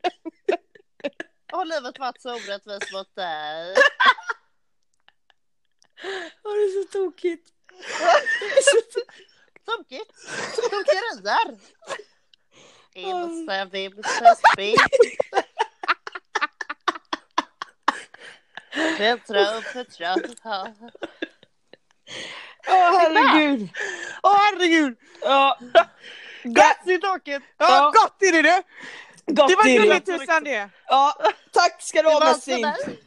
S3: Har livet varit så orättvist mot dig?
S1: Ja, det är så tokigt.
S3: Tokigt. Tokerier. Imse, vimse,
S2: (laughs)
S3: spinn. Petra och Petra.
S1: Åh, herregud.
S2: Åh herregud!
S1: Ja,
S2: Gott i taket! Ja,
S1: Ja.
S2: gott är det du!
S1: gott
S2: Det var
S1: är det.
S2: gulletussan det!
S1: Ja, tack ska du
S3: Det
S1: ha
S3: var så
S1: Messi.
S3: där.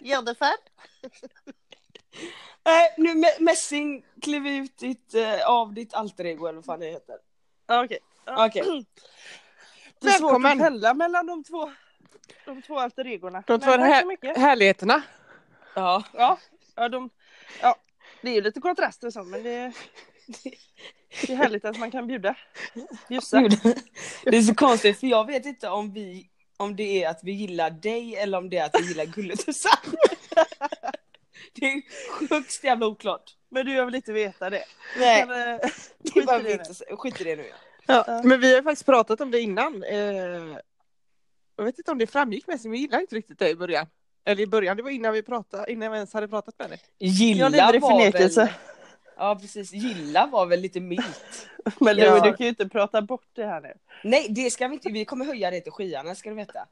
S3: Jennifer.
S1: Nej, nu Me- Messing, kliv ut ditt, eh, av ditt alter ego eller vad fan det heter.
S2: Okej. Mm. Okay.
S1: Okej.
S2: Det är svårt att
S4: pendla mellan de två, de två alter egorna.
S2: De två här- Härligheterna.
S1: Ja.
S4: Ja, de, ja, det är ju lite kontraster så, men det, det är härligt att man kan bjuda. Bjussa.
S1: Gud. Det är så konstigt för jag vet inte om vi om det är att vi gillar dig eller om det är att vi gillar Gulletussan. (laughs) Det är högst jävla oklart.
S4: Men du, jag vill inte veta det.
S1: Nej,
S4: Men, eh,
S1: det
S4: skit i
S1: behöver
S4: det
S1: vi
S4: nu.
S1: inte säga. Skit i det nu. Ja.
S2: Ja. Men vi har ju faktiskt pratat om det innan. Eh, jag vet inte om det framgick men vi gillade inte riktigt det i början. Eller i början, det var innan vi pratade, innan vi ens hade pratat med dig.
S1: Gilla
S4: Jag lever i
S1: var Väl,
S4: förnekelse.
S1: ja precis, gilla var väl lite milt.
S4: (laughs) Men du,
S1: Ja.
S4: du kan ju inte prata bort det här nu.
S1: Nej, det ska vi inte. Vi kommer höja det till skyarna ska du veta.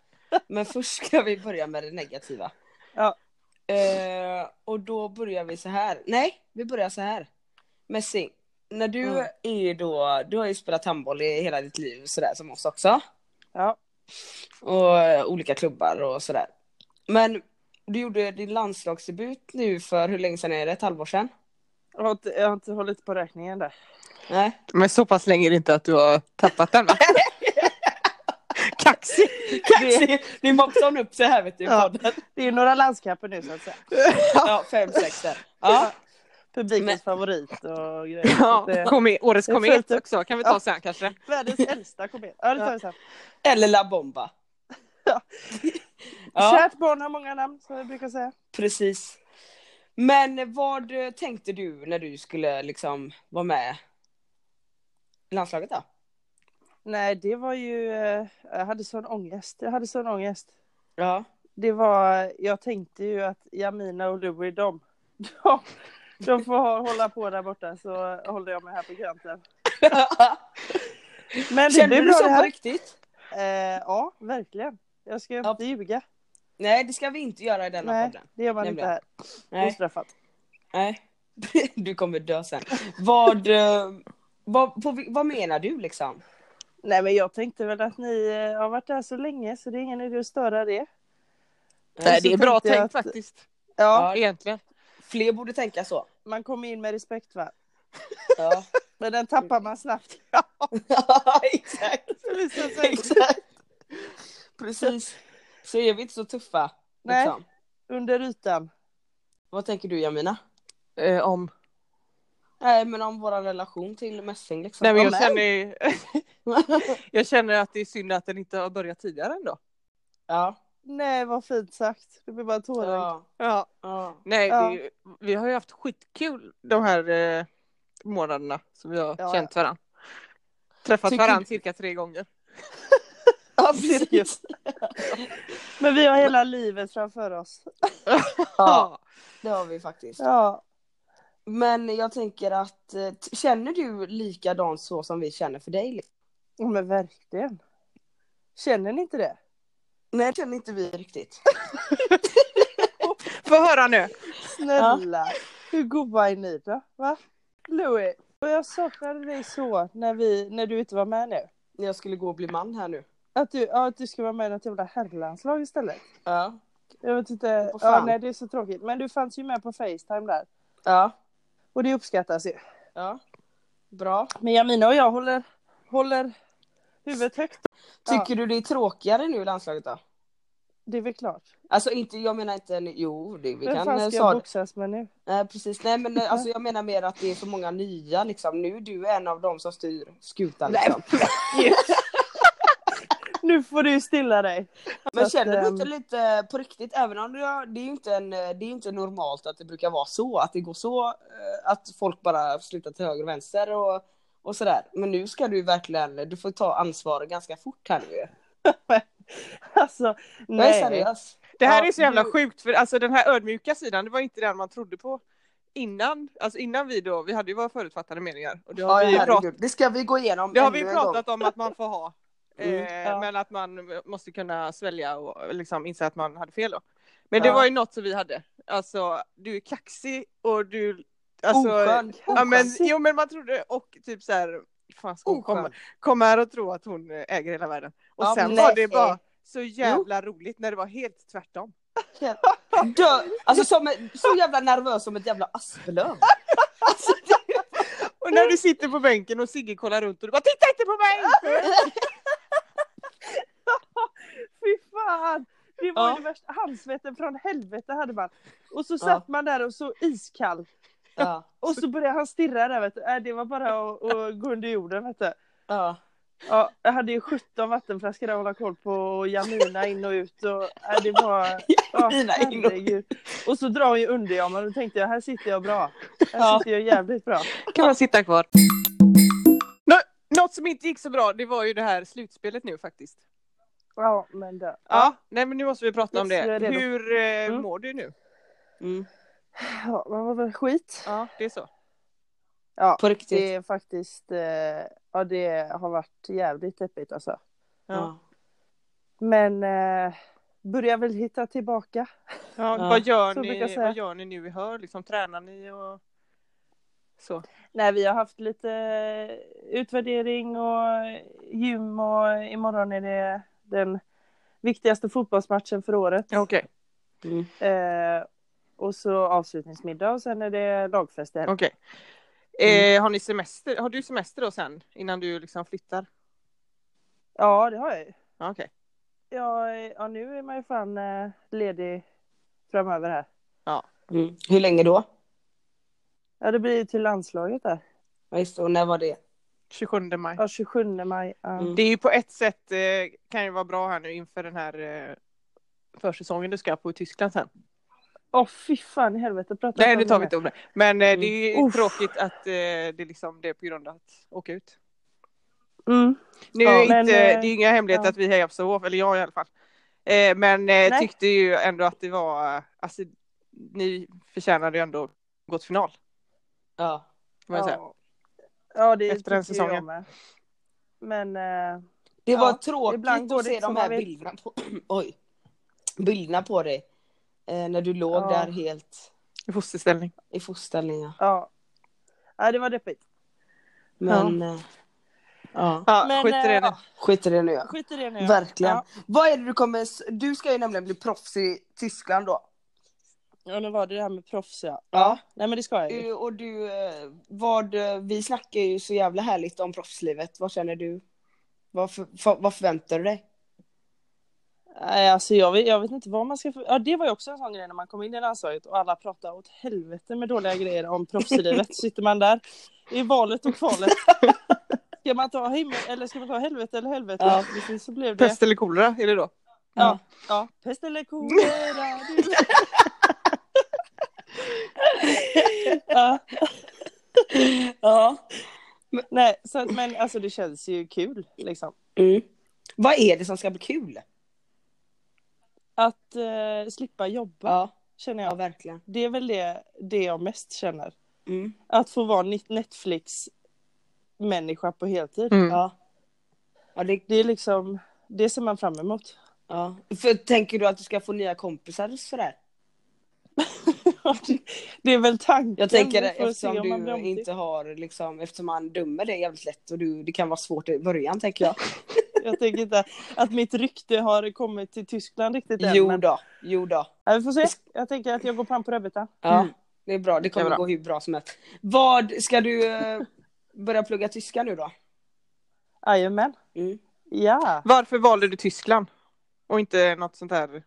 S1: Men först ska vi börja med det negativa.
S4: Ja.
S1: Eh, och då börjar vi så här. Nej, vi börjar så här. Messi, när du
S4: Mm.
S1: är då, du har ju spelat handboll i hela ditt liv sådär som oss också.
S4: Ja.
S1: Och eh, olika klubbar och sådär. Men du gjorde din landslagsdebut nu för hur länge sedan är det? Ett halvår sedan?
S4: Jag har, inte, jag har inte hållit på räkningen där.
S1: Nej.
S4: (laughs)
S2: Men så pass länge är det inte att du har tappat den va? Kaxig!
S1: Det, det mopsar hon upp sig här vet du i
S4: Ja.
S1: podden.
S4: Det är ju några landskamper nu så att säga.
S1: Ja, fem, sex där. Ja.
S4: Publikens
S1: Men-
S4: favorit
S1: (laughs)
S4: och grejer.
S2: Ja,
S4: Så att, eh,
S2: kom i, årets
S4: Jag
S2: komet
S4: följde-
S2: också kan vi
S4: Ja.
S2: ta sen kanske.
S4: Världens äldsta komet. Ja, det tar vi sen.
S1: Eller La Bomba.
S4: Ja.
S1: (laughs) ja,
S4: Kärt barn har många namn som vi brukar säga.
S1: precis. Men vad eh, tänkte du när du skulle liksom vara med i landslaget då?
S4: Nej, det var ju... eh, Jag hade sån ångest. Jag hade sån ångest.
S1: (laughs) Ja.
S4: Det var... Jag tänkte ju att Jamina och Louie, de... De, de får ha- hålla på där borta så håller jag mig här på kanten. Men det
S1: Kände
S4: blev
S1: du
S4: bra
S1: så
S4: det
S1: på
S4: här.
S1: riktigt?
S4: Eh, ja, verkligen. Jag ska
S1: Ja.
S4: inte ljuga.
S1: Nej, det ska vi inte göra i denna
S4: Nej,
S1: podden.
S4: det gör man inte
S1: Nämligen.
S4: här.
S1: Nej.
S4: Ostraffat.
S1: Nej. (laughs) Du kommer dö sen. Vad, eh, vad, på, vil- vad menar du liksom?
S4: Nej, men jag tänkte väl att ni eh, har varit där så länge så det är ingen idé att störa det.
S2: Nej, det är bra
S4: tänkte jag
S2: tänkt
S4: att-
S2: faktiskt.
S4: Ja,
S1: Ja.
S2: Egentligen.
S1: Alltså, Fler borde tänka
S2: (laughs)
S1: så.
S4: man kommer in med respekt va.
S1: Ja. (laughs)
S4: Men den tappar man snabbt. (laughs)
S1: Ja, exakt.
S4: Det visar
S1: (laughs)
S4: sig.
S1: exakt. Precis. Så är vi inte så tuffa.
S4: Nej.
S1: Liksom.
S4: Under ytan.
S1: Vad tänker du Jamina?
S2: Eh, om.
S1: Nej men om vår relation till mässing liksom.
S2: Nej, men jag,
S1: Om- (laughs)
S2: känner, ju- jag känner att det är synd att den inte har börjat tidigare ändå.
S1: ja.
S4: Nej, vad fint sagt. Det blir bara tårar.
S1: ja.
S2: Ja.
S1: Ja.
S2: Nej,
S4: Ja.
S2: det, vi har ju haft skitkul de här eh, månaderna som vi har
S4: Ja,
S2: känt varandra. Träffat
S1: Tycker-
S2: varandra cirka tre gånger.
S1: ja
S4: precis. Men vi har hela livet framför oss.
S1: Ja det har vi faktiskt.
S4: Ja.
S1: Men jag tänker att eh, t- känner du likadant så som vi känner för dig? Liksom?
S4: Ja, Men verkligen. Känner ni inte det?
S1: Nej det känner inte vi riktigt.
S2: Få höra nu.
S4: Snälla. Hur goa är ni då? Va? Louie. Och jag saknade dig så när, vi, när du inte var med nu.
S1: När jag skulle gå och bli man här nu.
S4: Att du, ja, att du ska vara med i något jävla herrlandslag istället.
S1: Ja.
S4: Jag vet inte.
S1: Vad fan.
S4: Ja, nej, det är så tråkigt. Men du fanns ju med på Facetime där.
S1: Ja.
S4: Och det uppskattas ju.
S1: Ja. Bra.
S4: Men Jamina och jag håller, håller huvudet högt. Ja.
S1: Tycker du det är tråkigare nu i landslaget då?
S4: Det är väl klart.
S1: Alltså inte, jag menar inte, en- jo det, vi
S4: Vem
S1: kan eh,
S4: fan ska jag
S1: sa,
S4: boxas med nu?
S1: nej, precis, nej men eh,
S2: (laughs)
S1: alltså jag menar mer att det är så många nya liksom, nu du är en av dem som styr skutan
S4: Nej,
S1: liksom.
S4: Nu får du stilla dig. (laughs)
S1: Men
S4: att,
S1: känner du
S4: ehm,
S1: inte lite på riktigt, även om du, har- det är ju inte, en, eh, det är ju inte normalt att det brukar vara så, att det går så, eh, att folk bara slutar till höger och vänster och, och sådär. Men nu ska du verkligen, du får ta ansvar ganska fort här nu.
S4: Alltså,
S1: Jag är
S4: nej.
S1: seriös.
S2: Det här
S4: Ja,
S2: är så jävla
S4: du-
S2: sjukt för alltså den här ödmjuka sidan det var inte den man trodde på innan. Alltså innan vi då, vi hade ju våra förutfattade meningar. Och det har, vi, ju prat,
S1: herregud. Det ska vi gå igenom
S2: det har vi
S1: ännu
S2: ju
S1: en
S2: pratat om att man får ha.
S1: (laughs) Mm,
S2: eh,
S4: ja.
S2: Men att man måste kunna svälja och liksom inse att man hade fel då. Men det
S1: Ja.
S2: var ju något som vi hade. Alltså du är kaxig och du...
S1: gång.
S2: Alltså,
S1: Oskön.
S2: Ja, men,
S4: Kaxig.
S2: jo men man trodde och typ så här, fan ska hon komma,
S1: Oskön.
S2: komma här och tro att hon eh, äger hela världen. Och
S1: Ja,
S2: sen
S1: men
S2: var
S1: nej.
S2: det bara så jävla roligt när det var helt tvärtom.
S1: Dö, alltså som, en- så jävla nervös som ett jävla asplöv.
S2: Och när du sitter på bänken och Sigge kollar runt och du bara titta inte på mig!
S4: (laughs) Fy fan. Det var
S1: Ja.
S4: ju det värsta. Handsvetten från helvete hade man. Och så
S1: Ja.
S4: satt man där och så iskall.
S1: Ja,
S4: Och så började han stirra där vet du. Äh, Det var bara att, att gå under jorden vet du.
S1: ja.
S4: Ja, jag hade ju 17 vattenflaskor att hålla koll på och Jamina in och ut och äh, det
S1: (laughs)
S4: var... Ja,
S1: Jamina in och ut.
S4: herregud. Och så drar hon ju underjammen och då tänkte jag här sitter jag bra. Här
S1: Ja.
S4: sitter jag jävligt bra.
S2: Kan man sitta kvar? Nå något som inte gick så bra det var ju det här slutspelet nu faktiskt.
S4: Ja, men då.
S2: Ja, nej men nu måste vi prata om
S4: Yes, jag
S2: det.
S4: är redo.
S2: Hur eh,
S4: Mm.
S2: mår du nu?
S1: Mm.
S4: Ja, man var väl skit.
S2: Ja, det är så.
S4: Ja,
S1: På riktigt.
S4: det är faktiskt... eh, Ja, det har varit jävligt deppigt alltså.
S1: ja.
S4: Men eh,
S2: börjar väl hitta tillbaka.
S4: Ja,
S1: Ja.
S4: Vad, gör
S2: Så brukar jag
S4: ni,
S2: säga.
S4: vad gör ni nu i hör? Liksom, tränar ni och så?
S2: Nej, vi har haft lite eh, utvärdering och gym och imorgon är det den viktigaste fotbollsmatchen för året.
S4: Ja, Okej.
S2: Eh, och så avslutningsmiddag och sen är det lagfest i helgen.
S4: okej. Eh, har ni semester? Har du semester då sen? Innan du liksom flyttar?
S2: Ja, det har jag ju.
S4: Ja, okej.
S2: Ja, eh, ja, nu är man ju fan eh, ledig framöver här.
S1: Mm. Hur länge då?
S2: Ja, det blir ju till landslaget där.
S1: Ja, just det, och när var det?
S4: 27 maj.
S2: Ja, 27 maj. Ja.
S1: Mm.
S4: Det är ju på ett sätt eh, kan ju vara bra här nu inför den här eh, försäsongen du ska på i Tyskland sen.
S2: Åh, fy fan i helvete. Pratar
S4: Nej,
S2: om
S4: nu tar vi
S2: det.
S4: inte om det. Men eh, det är ju
S2: Mm. Uff.
S4: tråkigt att eh, det liksom det är på grund av att åka ut.
S2: Mm.
S4: Nu
S2: Ja,
S4: är inte,
S2: men, eh,
S4: det är ju inga hemligheter
S2: ja.
S4: att vi hejar på Sävehof, eller jag i alla fall. Eh, men eh,
S2: Nej.
S4: tyckte ju ändå att det var, alltså ni förtjänade ju ändå gått final.
S1: Ja.
S4: Vad jag säger.
S2: Ja. ja, det
S4: Efter den
S2: tycker jag
S4: säsongen.
S2: med. Men eh,
S1: Det liksom, var
S2: Ja, ibland
S1: tråkigt
S2: går
S1: att
S2: det
S1: se
S2: inte
S1: de
S2: som man
S1: här
S2: vill.
S1: bilderna på, (clears throat) oj, bilderna på dig. Eh, när du låg
S2: Ja.
S1: där helt
S4: I fosterställning.
S1: i fosterställning. ja.
S2: ja. ja, det var deppigt.
S1: Men eh, ja,
S4: Ja,
S2: Men,
S4: skit i det
S2: eh,
S4: nu.
S2: ja.
S1: skit i det nu. ja.
S2: Skit i det nu.
S1: Verkligen.
S2: Ja.
S1: Vad är det du kommer, du ska ju nämligen bli proffs i Tyskland då.
S2: ja, nu var det det här med proffs ja.
S1: Ja.
S2: Nej, men det ska jag ju.
S4: Mm.
S1: Du- Och du, eh, vad, eh, vi snackar ju så jävla härligt om proffslivet. Vad känner du? Vad, för, för, vad förväntar du dig?
S2: Nej, alltså jag vet, jag vet inte vad man ska... För... Ja, det var ju också en sån grej när man kom in i landslaget och alla pratade åt helvete med dåliga grejer om
S4: (laughs)
S2: proffslivet. Sitter man där i valet och kvalet. Ska man ta himmel eller ska man ta helvete eller helvete?
S1: Ja.
S2: Precis så blev det.
S4: Pest eller kolera är det då?
S2: Ja, ja.
S1: (laughs)
S2: Pest eller kolera. du. ja. ja. Nej, så, att- men alltså det känns ju kul liksom.
S1: Mm. Vad är det som ska bli kul?
S2: Att eh, slippa jobba
S1: Ja,
S2: känner
S1: ja
S2: jag.
S1: verkligen.
S2: Det är väl det, det jag mest känner.
S1: Mm.
S2: Att få vara ni- Netflix-människa på heltid.
S4: Mm.
S1: Ja. Ja, det,
S2: Det är liksom, det ser man fram emot. (laughs)
S1: ja. För, tänker du att du ska få nya kompisar och sådär?
S2: det är väl tanken.
S1: Jag tänker
S2: Vi får se
S1: eftersom
S2: om man blir
S1: du
S2: omtyckt.
S1: inte har liksom, eftersom man dömer dig jävligt lätt och du, det kan vara svårt i början tänker jag.
S2: Jag tänker inte att mitt rykte har kommit till Tyskland riktigt än.
S1: Jo
S2: men-
S1: då, jo då.
S2: Ja, vi får se. Jag tänker att jag går fram på rödbetan.
S1: Ja,
S4: Mm.
S1: det är bra. Det kommer
S4: är bra.
S1: gå hur bra som helst. Vad, ska du eh, börja plugga tyska nu då?
S2: Jajamän.
S1: Mm.
S2: Ja.
S4: Varför valde du Tyskland? Och inte något sånt här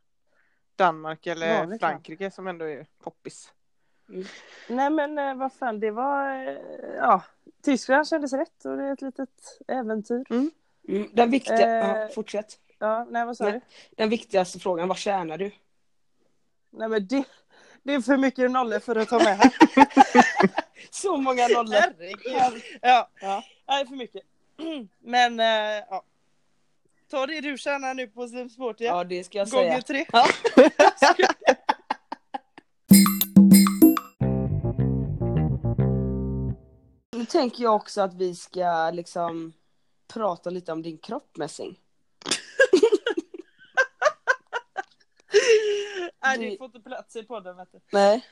S4: Danmark eller
S2: Vanligt land.
S4: Frankrike som ändå är poppis?
S2: Nej men eh, vad fan, det var... eh, Ja, Tyskland kändes rätt och det är ett litet äventyr.
S1: Mm. Den, viktiga,
S2: Eh.
S1: ja, fortsätt.
S2: Ja, nej vad sa
S1: Nej.
S2: du?
S1: Den viktigaste frågan, vad tjänar du?
S2: Nej men det, det är för mycket nollor för att ta med här.
S1: Så många
S3: (laughs)
S1: nollor.
S2: Herregud. (laughs) Ja,
S1: Ja.
S2: nej för mycket. (clears throat) Men eh, ja. Ta det du tjänar nu på Slimsportia.
S1: Ja, det ska jag säga.
S2: Gånger tre.
S1: Nu tänker jag också att vi ska liksom prata lite om din kropp, Messing.
S2: (laughs) Nej
S1: Du-
S2: det får inte plats i podden vet du.
S1: Nej.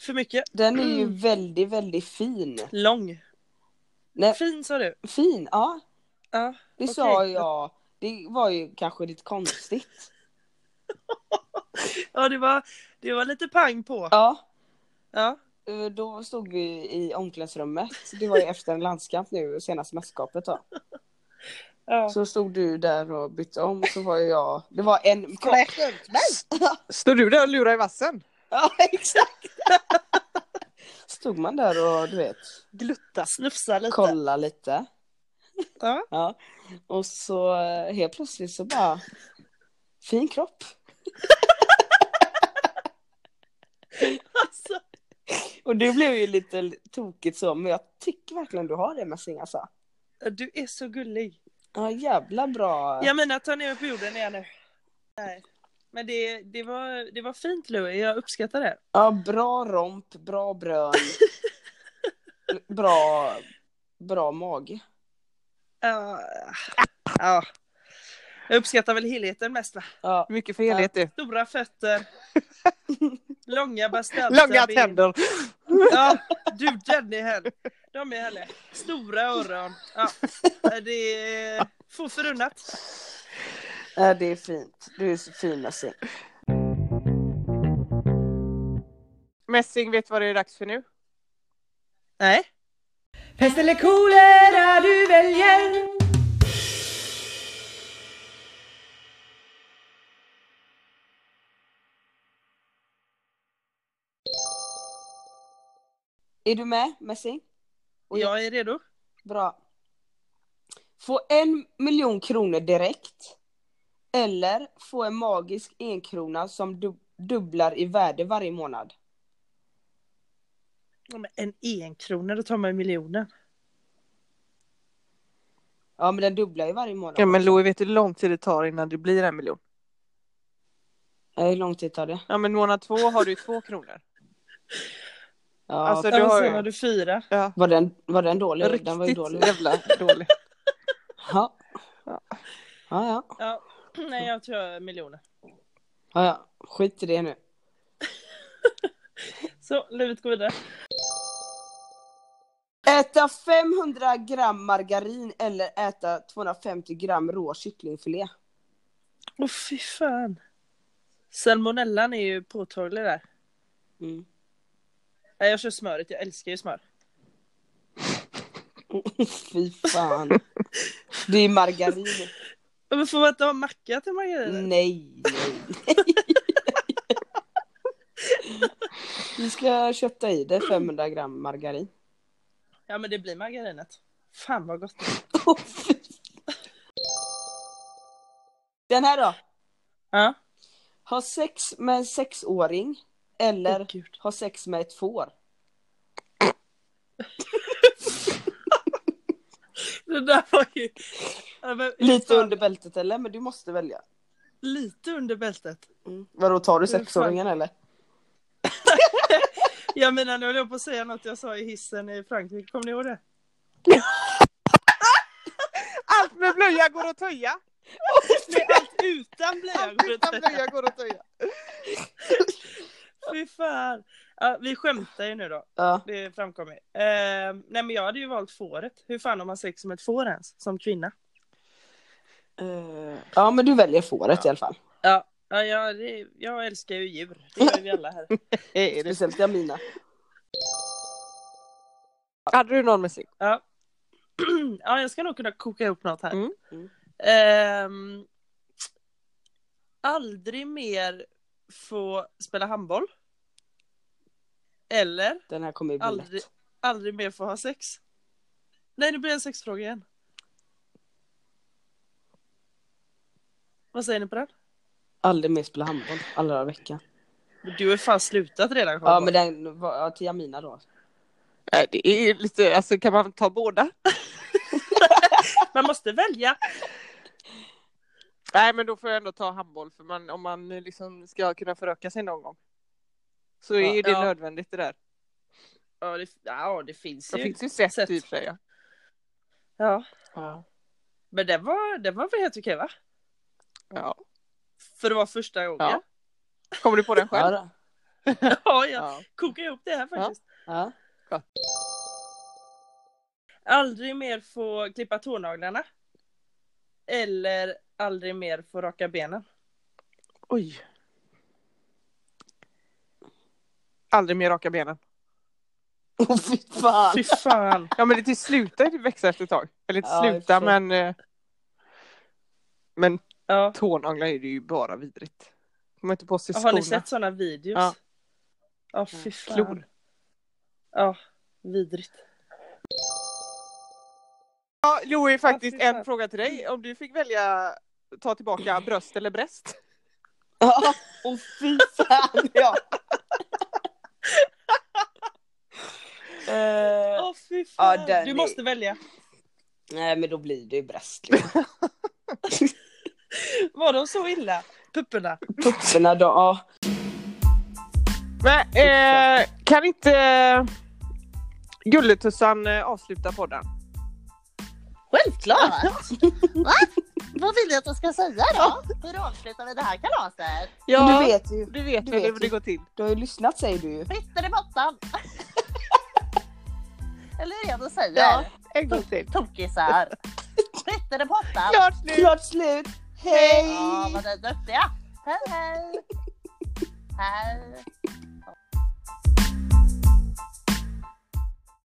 S2: För mycket.
S1: Den är ju
S2: Mm.
S1: väldigt, väldigt fin.
S2: Lång.
S1: Nej,
S2: Fin sa du.
S1: fin, ja.
S2: Ja.
S1: Det
S2: Okej.
S1: sa jag. Det var ju kanske lite konstigt.
S2: Ja det var, det var lite pang på.
S1: Ja.
S2: Ja.
S1: eh, Då stod vi i omklädningsrummet. Det var ju efter en landskamp nu, senaste mästerskapet då.
S2: ja.
S1: Så stod du där och bytte om, så var ju jag... Det var en... kvar.
S4: Står du där och lurar i vassen?
S2: (laughs)
S1: Ja, exakt! Stod man där och du vet,
S2: Glutta, snufsa lite.
S1: kolla lite.
S2: Ja.
S1: Ja. Och så eh, helt plötsligt så bara... Fin kropp.
S2: (laughs) Alltså,
S1: Och det blev ju lite tokigt så, men jag tycker verkligen du har det Messing alltså.
S2: du är så gullig.
S1: Ja, jävla bra.
S2: Jag menar, ta ner mig på jorden igen nu. Nej. Men det, det, var, det var fint Louie, jag uppskattar det.
S1: Ja, bra romp, bra (laughs) brön. bra, bra mage.
S2: Ja. ja. Jag uppskattar väl helheten mest va?
S1: Ja.
S4: Mycket för helhet det.
S2: Stora (laughs) fötter. Långa bastanta
S4: Långa
S2: ben.
S4: tänder.
S2: Ja, du Jenny här. De är härliga. Stora öron. Ja, det är få förunnat.
S1: Ja, Äh, det är fint. Du är så fin Lassie.
S4: Mässing, vet du vad det är dags för nu?
S2: Nej.
S5: Pest eller kolera du väljer
S1: Är du med Messi?
S2: Och jag är redo.
S1: Bra. Få en miljon kronor direkt. Eller få en magisk enkrona som du- dubblar i värde varje månad.
S2: Ja, men En enkrona, då tar man ju miljonen.
S1: Ja men den dubblar ju varje månad.
S4: Ja men Louie, vet du hur lång tid det tar innan det blir en miljon?
S1: Ja, Hur lång tid tar det?
S4: Ja men månad två har du två kronor.
S1: Ja,
S4: Alltså,
S2: Ja,
S4: du
S2: men
S4: har
S2: sen har
S4: ju...
S2: du fyra.
S4: Ja.
S1: var, den, var den dålig? Den var ju
S4: Riktigt
S1: dålig.
S4: jävla dålig.
S1: Ja.
S4: Ja.
S1: Ja, ja.
S2: Ja, (clears throat) nej jag tror miljoner.
S1: ja, ja. Skit i det nu.
S2: Så, livet går vidare.
S1: Äta 500 gram margarin eller äta 250 gram rå kycklingfilé.
S2: Åh fy fan. Salmonellan är ju påtaglig där.
S1: Mm. (laughs)
S2: Nej, jag kör smöret, jag älskar ju smör.
S1: Fy fan. Det är margarin.
S2: Ja, Men får man inte ha macka till margarinen?
S1: Nej, nej, nej. Vi ska kötta i det 500 gram margarin.
S2: Ja men det blir margarinet. Fan vad gott.
S1: Åh, fy. Den här då.
S2: Ja.
S1: Ha sex med en sexåring eller
S2: Åh, gud.
S1: ha sex med ett får.
S2: Det där var ju... Ja, men,
S1: Lite
S2: fan,
S1: under bältet eller? Men du måste välja.
S2: Lite under bältet.
S1: Mm. Vadå, tar du
S2: Hur fan-
S1: sexåringen eller?
S2: Jag menar nu höll jag på att säga något jag sa i hissen i Frankrike, kommer ni ihåg det?
S4: Allt med blöja går att töja.
S2: Nej, allt utan
S4: Allt utan
S2: blöjor.
S4: blöja går att töja.
S2: Fy fan. Ja, vi skämtar ju nu då,
S1: Ja.
S2: det framkommer. Eh, nej men jag hade ju valt fåret. Hur fan har man sex med ett får ens, som kvinna?
S1: Eh, ja men du väljer fåret i alla fall.
S2: Ja, ja jag, det, jag älskar ju djur. Det gör ju vi alla här.
S4: Är det...
S1: Speciellt Jamina.
S4: Hade du någon musik?
S2: Ja. (laughs) ja, jag ska nog kunna koka ihop något här.
S4: Mm.
S1: Mm.
S2: Ehm, aldrig mer få spela handboll. Eller
S1: Den här kommer ju bli
S2: aldrig,
S1: lätt.
S2: aldrig mer få ha sex. Nej, det blir en sexfråga igen. Vad säger ni på den?
S1: Aldrig mer spela handboll alla dagar i veckan.
S2: Du har ju fan slutat redan.
S1: Ja men den var ja, till Jamina då.
S4: Nej, det är ju lite, alltså kan man ta båda?
S2: Man måste välja.
S4: Nej men då får jag ändå ta handboll för man, om man liksom ska kunna föröka sig någon gång. Så är
S1: Ja.
S4: ju det
S2: Ja.
S4: nödvändigt det där.
S2: Ja, det, ja, det finns
S4: Det
S2: ju.
S4: finns ju sätt,
S2: sätt.
S4: i och för sig. ja.
S2: Ja.
S1: Ja.
S2: Men den var, den var väl helt okej va?
S4: Ja.
S2: För det var första gången.
S4: Ja. (laughs) Kommer du på den
S1: Ja,
S4: själv?
S1: då.
S2: (laughs) Ja, jag
S4: Ja.
S2: kokar ihop det här faktiskt.
S1: ja.
S2: Aldrig mer få klippa tånaglarna. Eller aldrig mer få raka benen.
S4: Oj. Aldrig mer raka benen.
S1: Åh fy fan.
S2: Fy fan.
S4: Ja men det till slutar det växa efter ett tag. Eller inte
S1: Ja, i och för
S4: sluta
S1: sig.
S4: men. eh, Men (laughs)
S2: Ja.
S4: tånaglar är det ju bara vidrigt. Kommer inte på sig
S2: Har ni
S4: skorna.
S2: sett sådana videos?
S4: Ja.
S2: Ja. Ja, fy fan.
S4: Klor.
S2: Ja, vidrigt.
S4: Ja, Louie faktiskt
S2: Ja, fy fan.
S4: en fråga till dig. Om du fick välja ta tillbaka bröst eller bröst?
S1: Ja, och fy (laughs) fan ja. (laughs) Eh,
S2: Åh fy
S1: Ja,
S2: fan.
S1: den
S2: du
S1: är-
S2: måste välja.
S1: nej men då blir det ju bröst. liksom. (laughs)
S2: Var de så illa? Pupporna.
S1: Pupporna då, ja.
S4: Men eh, kan inte eh, Gulletussan eh, avsluta podden? (laughs)
S3: Självklart! Va? Vad vill du att jag ska säga då? Hur avslutar vi det här kalaset?
S1: Du vet ju.
S2: Du vet
S1: Du
S2: hur
S1: vet
S2: det,
S1: ju.
S2: det går till.
S1: Du har ju lyssnat säger du ju.
S3: Fitter i
S4: (laughs)
S3: botten! Eller hur är det jag säger?
S2: Ja, en gång till.
S3: Tokisar! Fitter i botten!
S2: Klart nu!
S1: Klart slut! Hej!
S3: Ja, vad ni är duktiga! Hej hej! Hej!